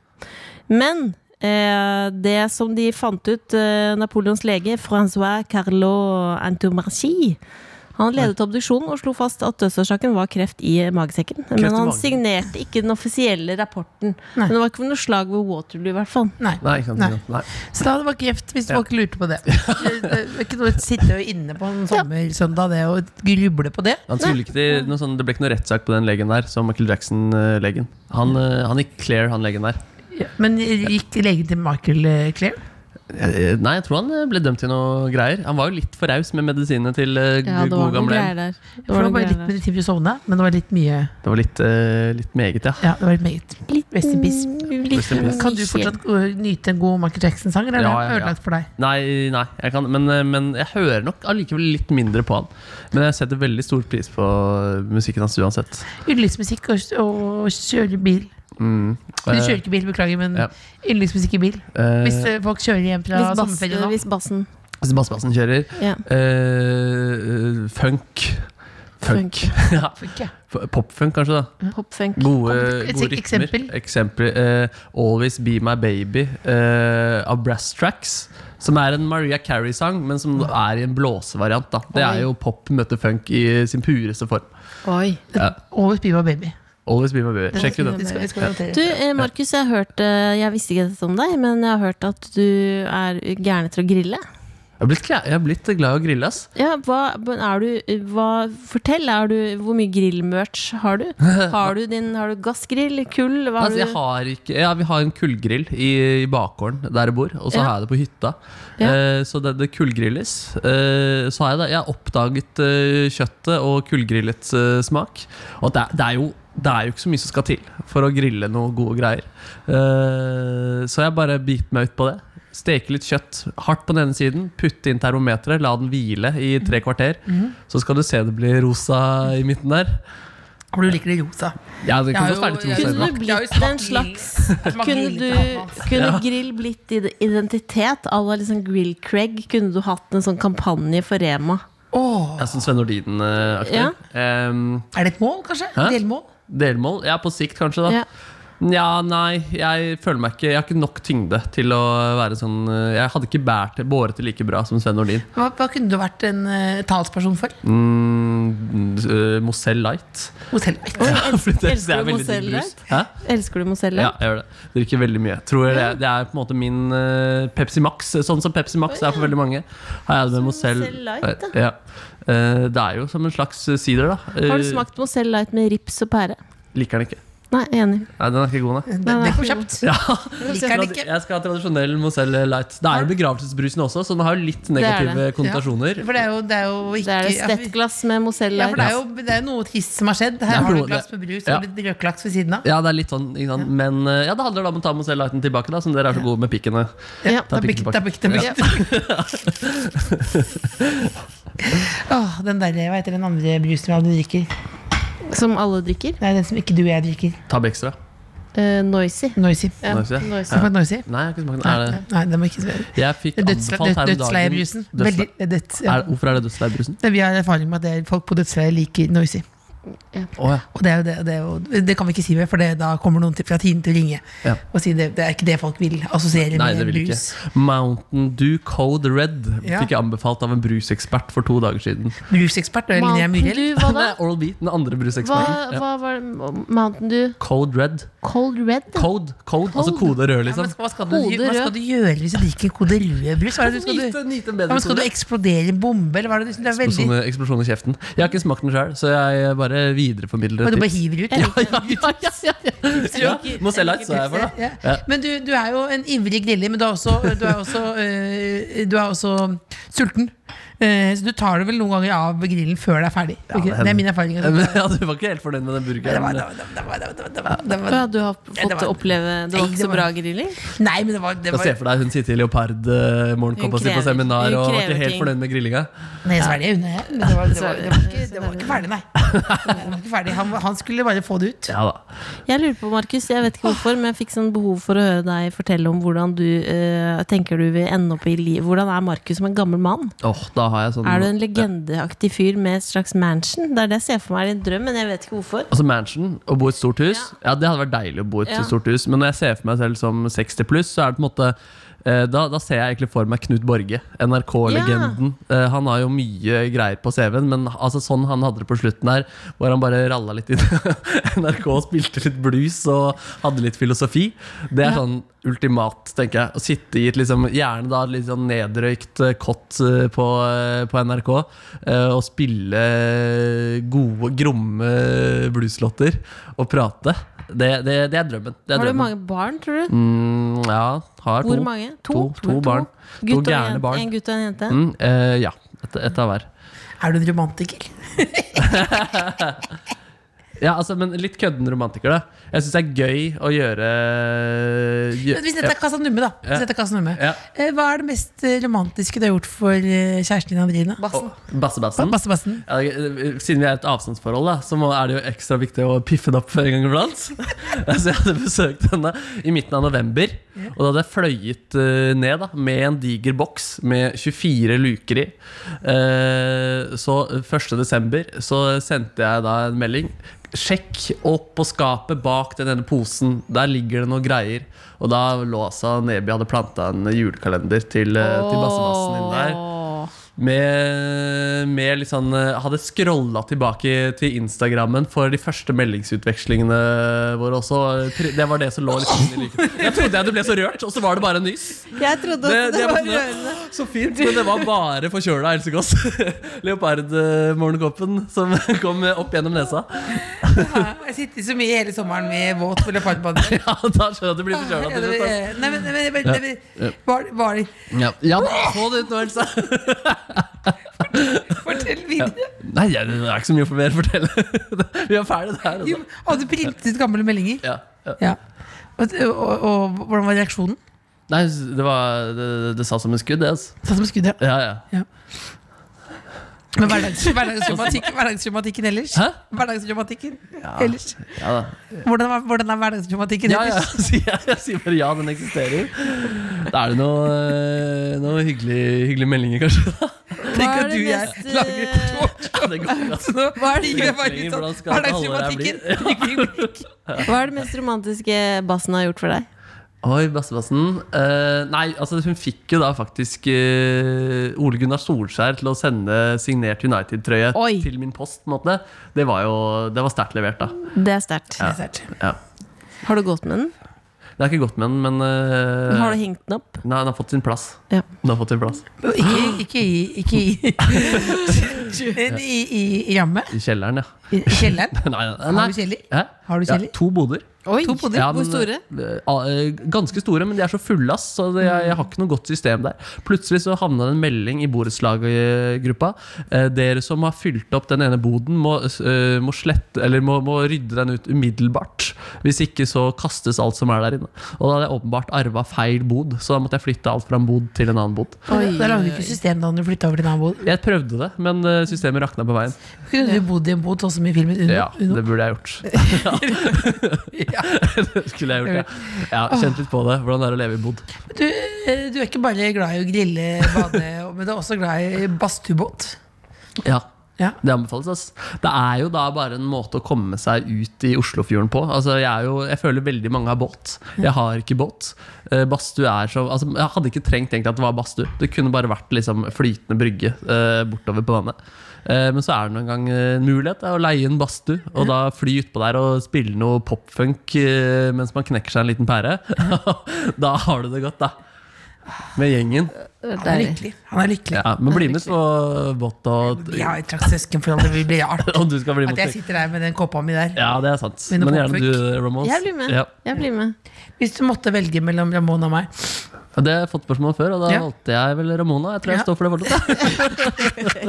Men eh, det som de fant ut, eh, Napoleons lege Francois Carlo Antomarchi Han ledet obduksjonen og slo fast at dødsårsaken var kreft i magesekken. Men han
magen.
signerte ikke den offisielle rapporten. Men
Nei.
det var ikke noe slag ved Waterloo, i hvert fall.
Nei.
Nei, ikke sant,
Nei.
ikke sant. Nei.
Så da det var ikke gjevt, hvis
Ja.
folk lurte på det. Det det er ikke noe å sitte inne på en sommersøndag det, og gruble på det.
Han skulle ikke til noe sånn, Det ble ikke noe rettssak på den legen der, som Michael Jackson-legen. Han, eh, han gikk clear, han legen der.
Men gikk legen til Michael eh, Clair?
Eh, Nei, jeg tror han eh, ble dømt til noe greier. Han var jo litt for raus med medisinene til eh, gode gamle en.
der. Det
For
var
det
noen
var litt
greier der.
medisin for å sovne, men det var litt mye.
Det var litt, eh, litt meget, ja.
Ja, det var litt meget. Rest in peace.
Rest in peace.
Kan du fortsatt eh, nyte en god Michael Jackson-sang, eller er
Ja,
det
ja, ja.
ødelagt for deg?
Nei, nei jeg kan, men, eh, men jeg hører nok allikevel litt mindre på han. Men jeg setter veldig stor pris på eh, musikken hans uansett.
Yndlingsmusikk og, og kjøre bil.
Mm.
Du
Eh,
kjører ikke bil, beklager, men
ja.
yndlingsmusikk i bil.
eh,
Hvis eh, folk kjører hjem fra
Hvis, bass,
sommerferie nå.
hvis bassen
Hvis Bassbassen kjører.
ja.
eh, funk. Funk. ja.
Fuck, ja.
F- Popfunk, kanskje. da
Popfunk.
Kom,
Gode,
et
gode rytmer.
eksempel.
Eksempel, eh, 'Always Be My Baby' eh, av Brass Tracks. Som er en Maria Carey-sang, men som
Mm.
er i en blåsevariant. da Det er jo pop møter funk i sin pureste form.
Oi.
Always be my baby.
Always Be My Baby. Sjekk ut den.
Det skal, det skal vi notere.
Du, eh, Markus, jeg har hørt eh, Jeg visste ikke dette om deg, men jeg har hørt at du er gæren etter å grille.
Jeg har blitt, glad- jeg har blitt glad i å grille, ass.
Ja, hva, men er du, hva, fortell, er du, hvor mye grillmerch har du? Har du, din, har du gassgrill, kull? Hva har
Altså, jeg
du?
har ikke, ja, vi har en kullgrill i, i bakgården der jeg bor, og så
Ja.
har jeg det på hytta.
Ja.
Eh, så det, det kullgrilles. Eh, så har jeg det. Jeg har oppdaget eh, kjøttet og kullgrillets eh, smak. Og det, er- det, er jo, det er jo ikke så mye som skal til for å grille noen gode greier. Eh, så jeg bare biter meg ut på det. Steke litt kjøtt hardt på den ene siden, putte inn termometeret, la den hvile i tre kvarter.
Mhm.
Så skal du se det blir rosa i midten der.
For du liker det rosa.
Ja, det kan
Jeg
godt
har
være litt
jo-
rosa i
jeg-
den.
Kunne du
Jeg har jo
blitt
smakt
en slags
Smaker
Kunne,
litt
du,
annet.
kunne grill blitt id- identitet? À la liksom Grill-Craig? Kunne du hatt en sånn kampanje for Rema?
Åh,
Jeg synes sånn Sven Nordin-aktig.
Ja.
Ehm,
er det et mål, kanskje?
Hæ?
Delmål?
delmål? Ja, på sikt kanskje, da.
Ja.
Ja. nei, jeg føler meg ikke Jeg har ikke nok tyngde til å være sånn eh, Jeg hadde ikke bært, båret det like bra som Sven Nordin.
Hva, hva kunne du vært en eh, talsperson for?
Mm, eh, Mozell Light.
Hotell.
Ja, fordi det,
elsker
det er
du
veldig digg
Mozell
brus.
Light?
Hæ?
Elsker du Mozella?
Ja, jeg gjør det. Drikker veldig mye. Tror jeg det, det er på en måte min eh, Pepsi Max. Sånn som Pepsi Max er for veldig mange. Her er det med
Som
Mozell
Mozell Sånn Light, da.
Ja. Eh, det er jo som en slags sider, da. Eh,
Har du smakt Mozell Light med rips og pære?
Liker den ikke.
Nei, enig.
Nei, den er ikke god, nei.
Det, det kom kjapt.
Ja.
Liker den ikke.
Jeg skal ha tradisjonell Mozell Light. Det er jo begravelsesbrusen også, så den har jo litt
Det
negative
er
konnotasjoner.
For det er jo, det er jo
Det er det
ikke ja, for-
stettglass med Mozell
Ja, for
Light.
det er jo det er jo noe trist som har skjedd. Her
Ja.
har du et glass med brus
Ja.
og litt røkelaks ved siden av.
Ja, det er litt sånn, ikke sant? Men eh, ja, det handler da om å ta Mozell Lighten tilbake, da, som dere er så gode med pikkene.
Ja.
Da blir- da blir- da blir- Åh, den der, hva heter den andre brusen vi aldri drikker?
Som alle drikker.
Nei, den som ikke du og jeg drikker.
Tab Extra.
Eh, noisy.
Noisy.
Ja,
Noisy, ja.
noisy.
Har du fått noisy?
Nei, jeg har ikke smakt den. Er det
Nei, den må ikke svare.
Jeg fikk
Dødsle-
anbefalt her om dagen
Dødsleiebrusen.
Dødsle-
Veldig- døds- ja.
er, det- Hvorfor er det dødsleiebrusen?
Nei, Vi har erfaring med at det er folk på dødsleiet liker noisy.
Å ja.
Og det, er jo det, og det, er jo, det kan vi ikke si mer, for det, da kommer noen til, fra tiden til å ringe
Ja.
og si det, det er ikke det folk vil assosiere
Nei, det
med
vil jeg
brus.
ikke. Mountain Dew Code Red
Ja.
fikk jeg anbefalt av en brusekspert for to dager siden.
Brusekspert og Linnea
Mountain
Myhrel.
Dew, hva da?
Nei, Oral B, den andre
Hva,
bruseksperten. Ja.
hva var det? Mountain Dew?
Code Red.
Cold Red?
Code, code, altså kode rød,
Ja,
liksom.
men hva, skal du,
Kode
hva
rød.
skal du gjøre hvis du drikker kode rød brus? Hva er det du skal du...
Nyte, nyte en bedre
Ja, men skal du
kode.
eksplodere en bombe, eller hva er det du det er veldig
Eksplosjon, eksplosjon i kjeften. Jeg har ikke smakt den sjøl, så jeg bare
Og
videreformidler
du
et
bare
tips.
hiver ut?
Ja, ja, ja, ja, ja. ja. Mozell Lights er jeg for, da.
Ja. Men du, du er jo en ivrig griller, men du er også, du er også, øh, du er også sulten. Eh, Eh, så du tar det vel noen ganger av grillen før det er ferdig. ikke? det, er min erfaring.
Men, ja, du var ikke helt fornøyd med den burgeren.
Ja, du har
Ja, det
fått
var-
oppleve Det
Nei,
var
det
ikke så
var-
bra grilling?
Nei, men det var, det
Skal se
var
for deg hun sitter i leopardmorgenkåpa
Hun
si på
krever-
seminar
hun
og var
krever
ikke helt
ting.
fornøyd med grillinga.
Nei, sverre unna jeg. Men det var, det, var, det, var ikke, det var ikke ferdig, nei. Det var ikke ferdig. Han, han skulle bare få det ut.
Ja da.
Jeg lurer på, Markus, jeg vet ikke hvorfor, men jeg fikk sånn behov for å høre deg fortelle om hvordan du eh, tenker du vil ende opp i livet. Hvordan er Markus som en gammel mann?
Åh, da har jeg sånn
Er du en legendeaktig fyr med et slags mansion? Det er det jeg ser for meg i en drøm, men jeg vet ikke hvorfor.
Altså mansion, å bo i et stort hus Ja, det hadde vært deilig å bo i et
Ja.
stort hus Men når jeg ser for meg selv som 60 pluss Så er det på en måte eh, da, da ser jeg egentlig for meg Knut Borge NRK-legenden eh, Han har jo mye greier på CV-en Men altså, sånn han hadde det på slutten her Hvor han bare ralla litt inn NRK spilte litt blues Og hadde litt filosofi Det er sånn ultimat, tenker jeg Å sitte i et liksom, gjerne da Litt sånn nedrøykt eh, kott eh, på, eh, på NRK eh, Og spille eh, gode, gromme blueslåtter Og prate det, det, det er drømmen det er
Har du
drømmen.
mange barn, tror du?
Mm, ja, har
Hvor
to
mange?
To, to, barn
Gutt og
gærne
en-
barn.
En gutt og en jente?
Mm, eh, ja, et, et av hver
Er du en romantiker?
ja, altså, men litt kødden romantiker da Jeg synes det er gøy å gjøre eh, gjø-
Hvis dette er Casanumme, da.
Ja.
Hvis dette er Casanumme.
Ja.
Eh, Hva er det mest eh, romantiske du har gjort for eh, kjæresten din, Andrine?
Å, Bassebassen
Bassebassen.
Ja, det- siden vi er et avstandsforhold, da, så må, er det jo ekstra viktig å piffe det opp en gang iblant. så jeg hadde besøkt henne i midten av november, og da hadde jeg fløyet eh, ned da, med en diger boks med 24 luker i. Eh, så 1. desember så sendte jeg da en melding. Sjekk opp på skapet bak den ene posen. Der ligger det noen greier. Og da lå altså Neby hadde planta en julekalender til, eh, til bassebassen din der. Med, med litt sånn eh, Hadde scrolla tilbake til Instagrammen for de første meldingsutvekslingene våre også. Tre- Det var det som lå litt inni lykken. Jeg trodde jeg du ble så rørt, og så var det bare en nys.
Jeg trodde
Det,
også det,
det
var
var sånn,
rørende.
så fint, men det var bare forkjøla Else Kåss. Leopardmorgenkoppen som kom opp gjennom nesa.
Jeg sitter så mye hele sommeren med våt på leopardbadet.
Ja, da skjønner jeg at du blir forkjøla
Nei,
til slutt.
men-
ass.
Eh, nei, men- nei, men- nei, men- Var, var det
Ja, ja få det ut nå, Else.
Fortell videre.
Nei, det er ikke så mye for mer å fortelle. Vi er ferdig der. Altså.
Jo, Hadde du printet ut gamle meldinger?
Ja, ja.
Ja. Og, og, og hvordan var reaksjonen?
Nei, det, var, det, det sa som en skudd, det. Altså.
Satt som skudd, ja.
Ja, ja.
Men hverdags- hverdagsromantikk- hverdagsromantikken ellers?
Hæ?
Hverdagsromantikken ellers?
Ja, da.
Hvordan er, hvordan er hverdagsromantikken
ja, ja
ellers?
sier jeg, jeg sier bare ja, den eksisterer. Da er det noe, eh, noe hyggelig, hyggelige meldinger, kanskje.
Tenk
Hva er
at
det
du og jeg
mest,
lager et
eh,
tårn.
Ja, det går ikke, altså.
Nå gikk
det
jeg bare litt
lenger,
sånn
hvordan skal det halvåret
Hverdagsromantikken.
Hva er det mest romantiske bassen har gjort for deg?
Oi, Bassebassen. Eh, nei, altså hun fikk jo da faktisk eh, Ole Gunnar Solskjær til å sende signert United-trøye
Oi.
til min post. på en måte Det var jo det var sterkt levert, da.
Det er sterkt.
Ja.
Har du gått med den?
Det har ikke gått med den, men eh,
Har du hengt den opp?
Nei, den har fått sin plass.
Ja.
Den har fått sin plass
Ikke, ikke i Ikke i I, i, i rammet?
I kjelleren, ja.
I i kjelleren?
Nei, nei, nei.
Har du kjeller?
Hæ?
Har du kjeller?
Ja, to boder.
Oi,
To boder.
Ja,
Hvor
men,
store?
eh, ah, eh, ganske store, men de er så fulle, ass. Så det, jeg, jeg har ikke noe godt system der. Plutselig så havna det en melding i borettslaggruppa. Eh, dere som har fylt opp den ene boden, må, eh, må slette Eller må, må rydde den ut umiddelbart. Hvis ikke så kastes alt som er der inne. Og da hadde jeg åpenbart arva feil bod, så da måtte jeg flytte alt fra en bod til en annen bod.
Da lagde du ikke system da du flytta over til en annen bod.
Jeg prøvde det, men eh, systemet rakna på veien.
Kunne du bodd i en bod sånn som i filmen Uno?
Ja,
Uno?
det burde jeg gjort. Ja. det skulle jeg gjort, ja. ja kjent litt på det. Hvordan det er å leve i bod.
Du, eh, du er ikke bare glad i å grille, bade, men du er også glad i badstuebåt.
Ja.
Ja.
Det anbefales. ass. Det er jo da bare en måte å komme seg ut i Oslofjorden på. Altså, jeg, er jo, jeg føler veldig mange har båt. Jeg har ikke båt. Eh, Badstue er så altså, Jeg hadde ikke trengt egentlig at det var badstue. Det kunne bare vært liksom, flytende brygge eh, bortover på vannet. Eh, men så er det nå engang eh, en mulighet da, å leie en badstue, og da fly utpå der og spille noe popfunk eh, mens man knekker seg en liten pære. da har du det godt, da. Med gjengen.
Han er lykkelig. Han er lykkelig.
Ja, men bli med på båt og
Jeg har et slags søsken for det blir rart
Og du skal bli
at
med
jeg sitter der med den kåpa mi der.
Ja, det er sant.
Mine
Men gjerne
popfolk.
du, Ramos.
Jeg blir med.
Ja.
Jeg blir med.
Hvis du måtte velge mellom Ramón og meg,
Ja, Det har jeg fått spørsmål om før, og da
Ja.
valgte jeg vel Ramona. Jeg tror jeg
Ja.
står for det fortsatt.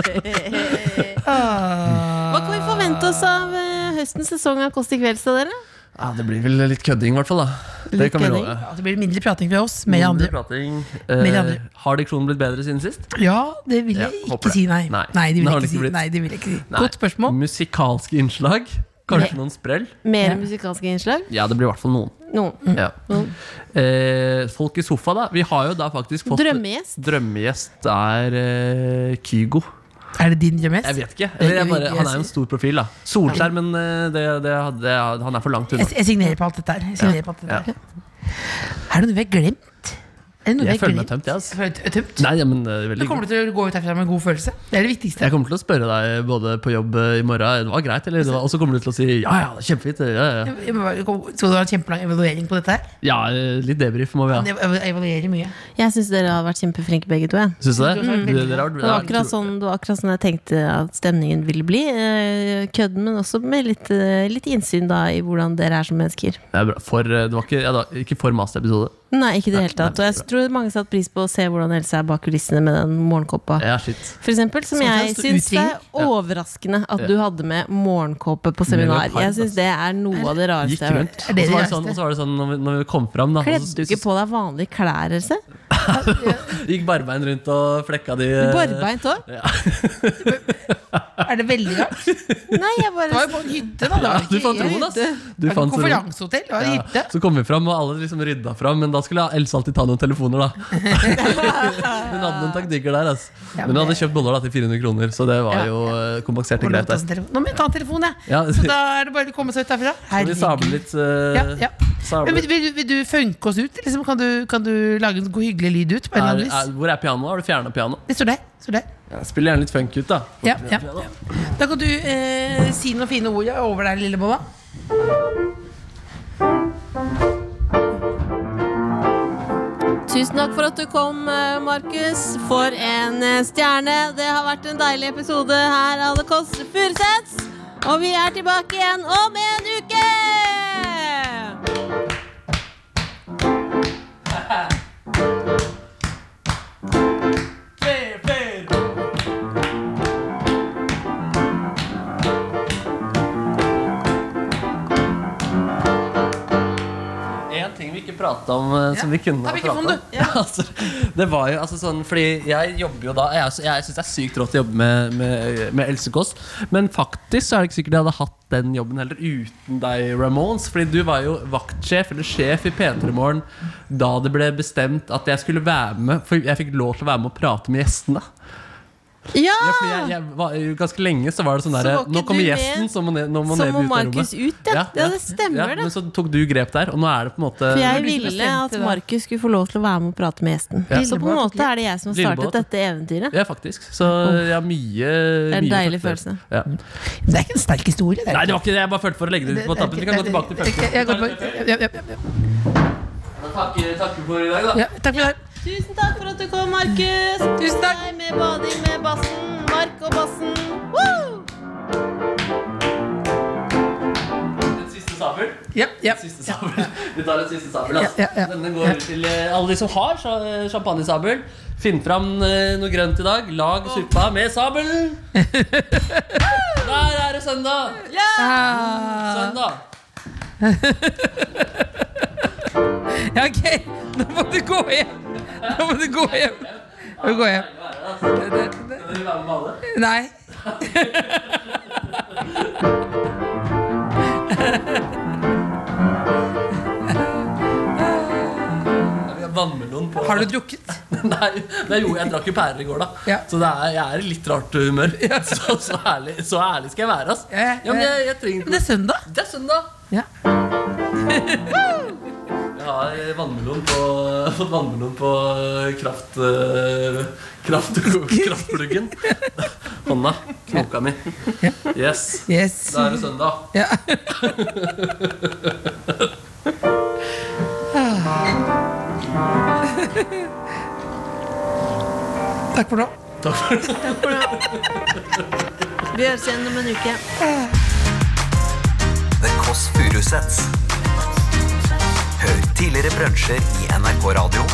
Ah.
Hva kan vi forvente oss av eh, høstens sesong av Kåss til kvelds da, dere?
Ja, det blir vel litt kødding, i hvert fall. da. Det
Litt
kan vi
kødding.
love.
Mm. Ja, det blir mindre prating fra oss. Mer andre.
Mindre prating.
Mer
Eh,
andre.
har diksjonen blitt bedre siden sist?
Ja, det vil
Ja,
jeg
håper
ikke si nei.
Nei.
Nei, det vil jeg
Det har det
ikke
ikke
si.
blitt.
Nei, det vil jeg ikke si.
Nei. Mm.
Godt spørsmål.
Musikalske innslag? Kanskje noen sprell?
Mer
Ja.
musikalske innslag?
Ja, det blir i hvert fall noen.
Noen.
Ja. Eh, folk i sofa, da. Vi har jo da faktisk fått
Drømmegjest?
Drømmegjest er eh, Kygo.
Er det din drøm
Jeg
mest?
vet ikke. Eller jeg bare,
Jeg
han er
sier-
jo en stor profil, da. Solskjær, men eh, det, det, det, han er for langt unna.
Jeg, jeg signerer på alt dette her. Jeg signerer på alt dette
Ja.
her. Er det noe vi har glemt? Er det noe vi
Jeg
har
føler meg
glemt?
tømt, jeg. Altså.
Føler du deg tømt?
Nei, ja, men det er
Du
veldig
kommer du til å gå ut herfra med en god følelse. Det er det viktigste.
Jeg kommer til å spørre deg både på jobb eh, i morgen. Det var greit, eller? Det var- Og så kommer du til å si ja, ja, det er kjempefint. Ja, ja.
Jeg må bare- Skal du ha en kjempelang evaluering på dette her?
ja eh, litt debrief må vi ha.
Jeg ev- evaluerer mye.
Jeg syns dere har vært kjempeflinke begge to. Jeg.
Syns du det?
Mm.
Du- dere har-
Det var, akkurat sånn, det var akkurat sånn jeg tenkte at stemningen ville bli. Eh, Kødden, men også med litt, eh, litt innsyn da i hvordan dere er som mennesker.
Det er bra. For, eh, det var ikke, ja, da, ikke for masterepisode.
Nei, ikke i det
Nei,
hele tatt. Og
nei,
jeg tror mange satte pris på å se hvordan Else er bak kulissene med den morgenkåpa.
Ja, shit.
For eksempel, som
Sånn
jeg
at det er
syns det er
utringning.
overraskende at
Ja.
du hadde med morgenkåpe på seminar.
Leopard,
Jeg syns
altså.
det er noe av det
Gikk
rareste jeg har hørt.
rundt. Og så var det sånn, og så var det sånn når vi, når vi kom fram, da og
Kledde
så-
du ikke på deg vanlige klær, Else?
Gikk barbein rundt og flekka de eh,
Barbeint òg?
Er det veldig rart?
Nei, jeg
Det var
bare
jo på en hytte, da. Det
Ja,
var
du
ikke-
fant roen, ass. Du
Det var
fant
ikke
roen.
konferansehotell, det var en
Ja.
hytte.
Så kom vi fram, og alle liksom rydda fram, men da skulle Else alltid ta noen telefoner, da. Hun hadde noen taktikker der, ass.
Ja,
Men
men
hun hadde kjøpt boller da til 400 kroner, så det
Ja,
var jo eh, kompensert
Nå
og
må jeg
greit.
ta en
der.
telefon. Nå må jeg ta en telefon, jeg.
Ja,
Så da er det bare å komme seg ut herfra.
så vi sabler litt eh,
Ja, ja.
sabler.
Men vil, vil, vil du funke oss ut? Liksom, kan, du, kan du lage en god, hyggelig lyd ut? På en eller
Er,
annen
er,
vis?
hvor er pianoet? Har du fjerna pianoet?
Det står der. står der.
Spiller gjerne litt funk ut, da.
Ja, ja. Da kan du eh, si noen fine ord ja, over deg, lille mamma.
Tusen takk for at du kom, eh, Markus. For en eh, stjerne. Det har vært en deilig episode her av The Kåss Furuseths. Og vi er tilbake igjen om en uke!
En ting vi ikke prata om, eh, som vi kunne
Ta
ha pratet
mikrofonen,
om. Ja, altså, det var jo altså sånn, fordi jeg jobber jo da Jeg, jeg syns det er sykt rått å jobbe med, med, med Else Kåss, men faktisk så er det ikke sikkert jeg hadde hatt den jobben heller uten deg, Ramones. Fordi du var jo vaktsjef eller sjef i P3 Morgen da det ble bestemt at jeg skulle være med, for jeg fikk lov til å være med og prate med gjestene.
Ja!
Ja, for jeg, jeg var, jo ganske lenge så var det sånn
Så
der
var ikke
Nå
du
kommer gjesten,
med,
så må, ne, nå må
så
Neby
må
ut av
Markus
rommet.
ut, ja. Ja, det stemmer det.
Men så tok du grep der, og nå er det på en måte
For jeg
du som
ville
bestemte
at
det.
Markus skulle få lov til å være med og prate med gjesten.
Ja.
Så på en måte er det jeg som har
Lillebåt.
startet dette eventyret.
Ja, faktisk. Så jeg har
Det er
mye
en
mye
deilig
faktorer.
følelse.
Ja.
Det er ikke en sterk historie. Det er
Nei, det var ikke det. Jeg bare følte for å legge det ut på tappen. Vi kan gå tilbake til
Jeg- jeg går
følelsen.
tilbake- ja, ja, ja, ja.
Takk, takk for i dag, da.
Ja, Takk for i dag.
Tusen takk for at du kom, Markus. Tusen takk med bading med bassen. Mark og bassen. Woo!
En siste sabel.
Ja, ja.
En Siste sabel. Vi tar en siste sabel. Altså.
Ja, ja, ja.
Denne går til eh, alle de som har sja- champagnesabel. Finn fram eh, noe grønt i dag. Lag suppa med sabelen. Der er det søndag! Søndag.
Ja, ok, nå må du gå hjem. Nå må du gå hjem. Nå må du gå hjem. Det- det- det-
Vil du være med alle?
Nei.
Ja, vi har vannmelon på.
Har du drukket?
Nei, nei jo, jeg drakk jo pærer i går, da.
Ja.
Så det er, jeg er i litt rart eh, humør. Så, så, ærlig, så ærlig skal jeg være. ass
Ja, ja,
Ja, men
ja.
jeg, jeg trenger
Men det er søndag.
Det er søndag!
Ja.
Jeg har eh, vannmelon på, fått vannmelon på kraft... eh, kraft kraftpluggen. Hånda. Knoka mi. Yes.
Yes.
Da er det søndag.
Ja. Takk for nå.
Vi høres igjen om en uke.
The Kåss Furuseths. Hør tidligere brunsjer i NRK Radio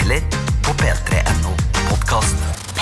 eller på p3.no podkast.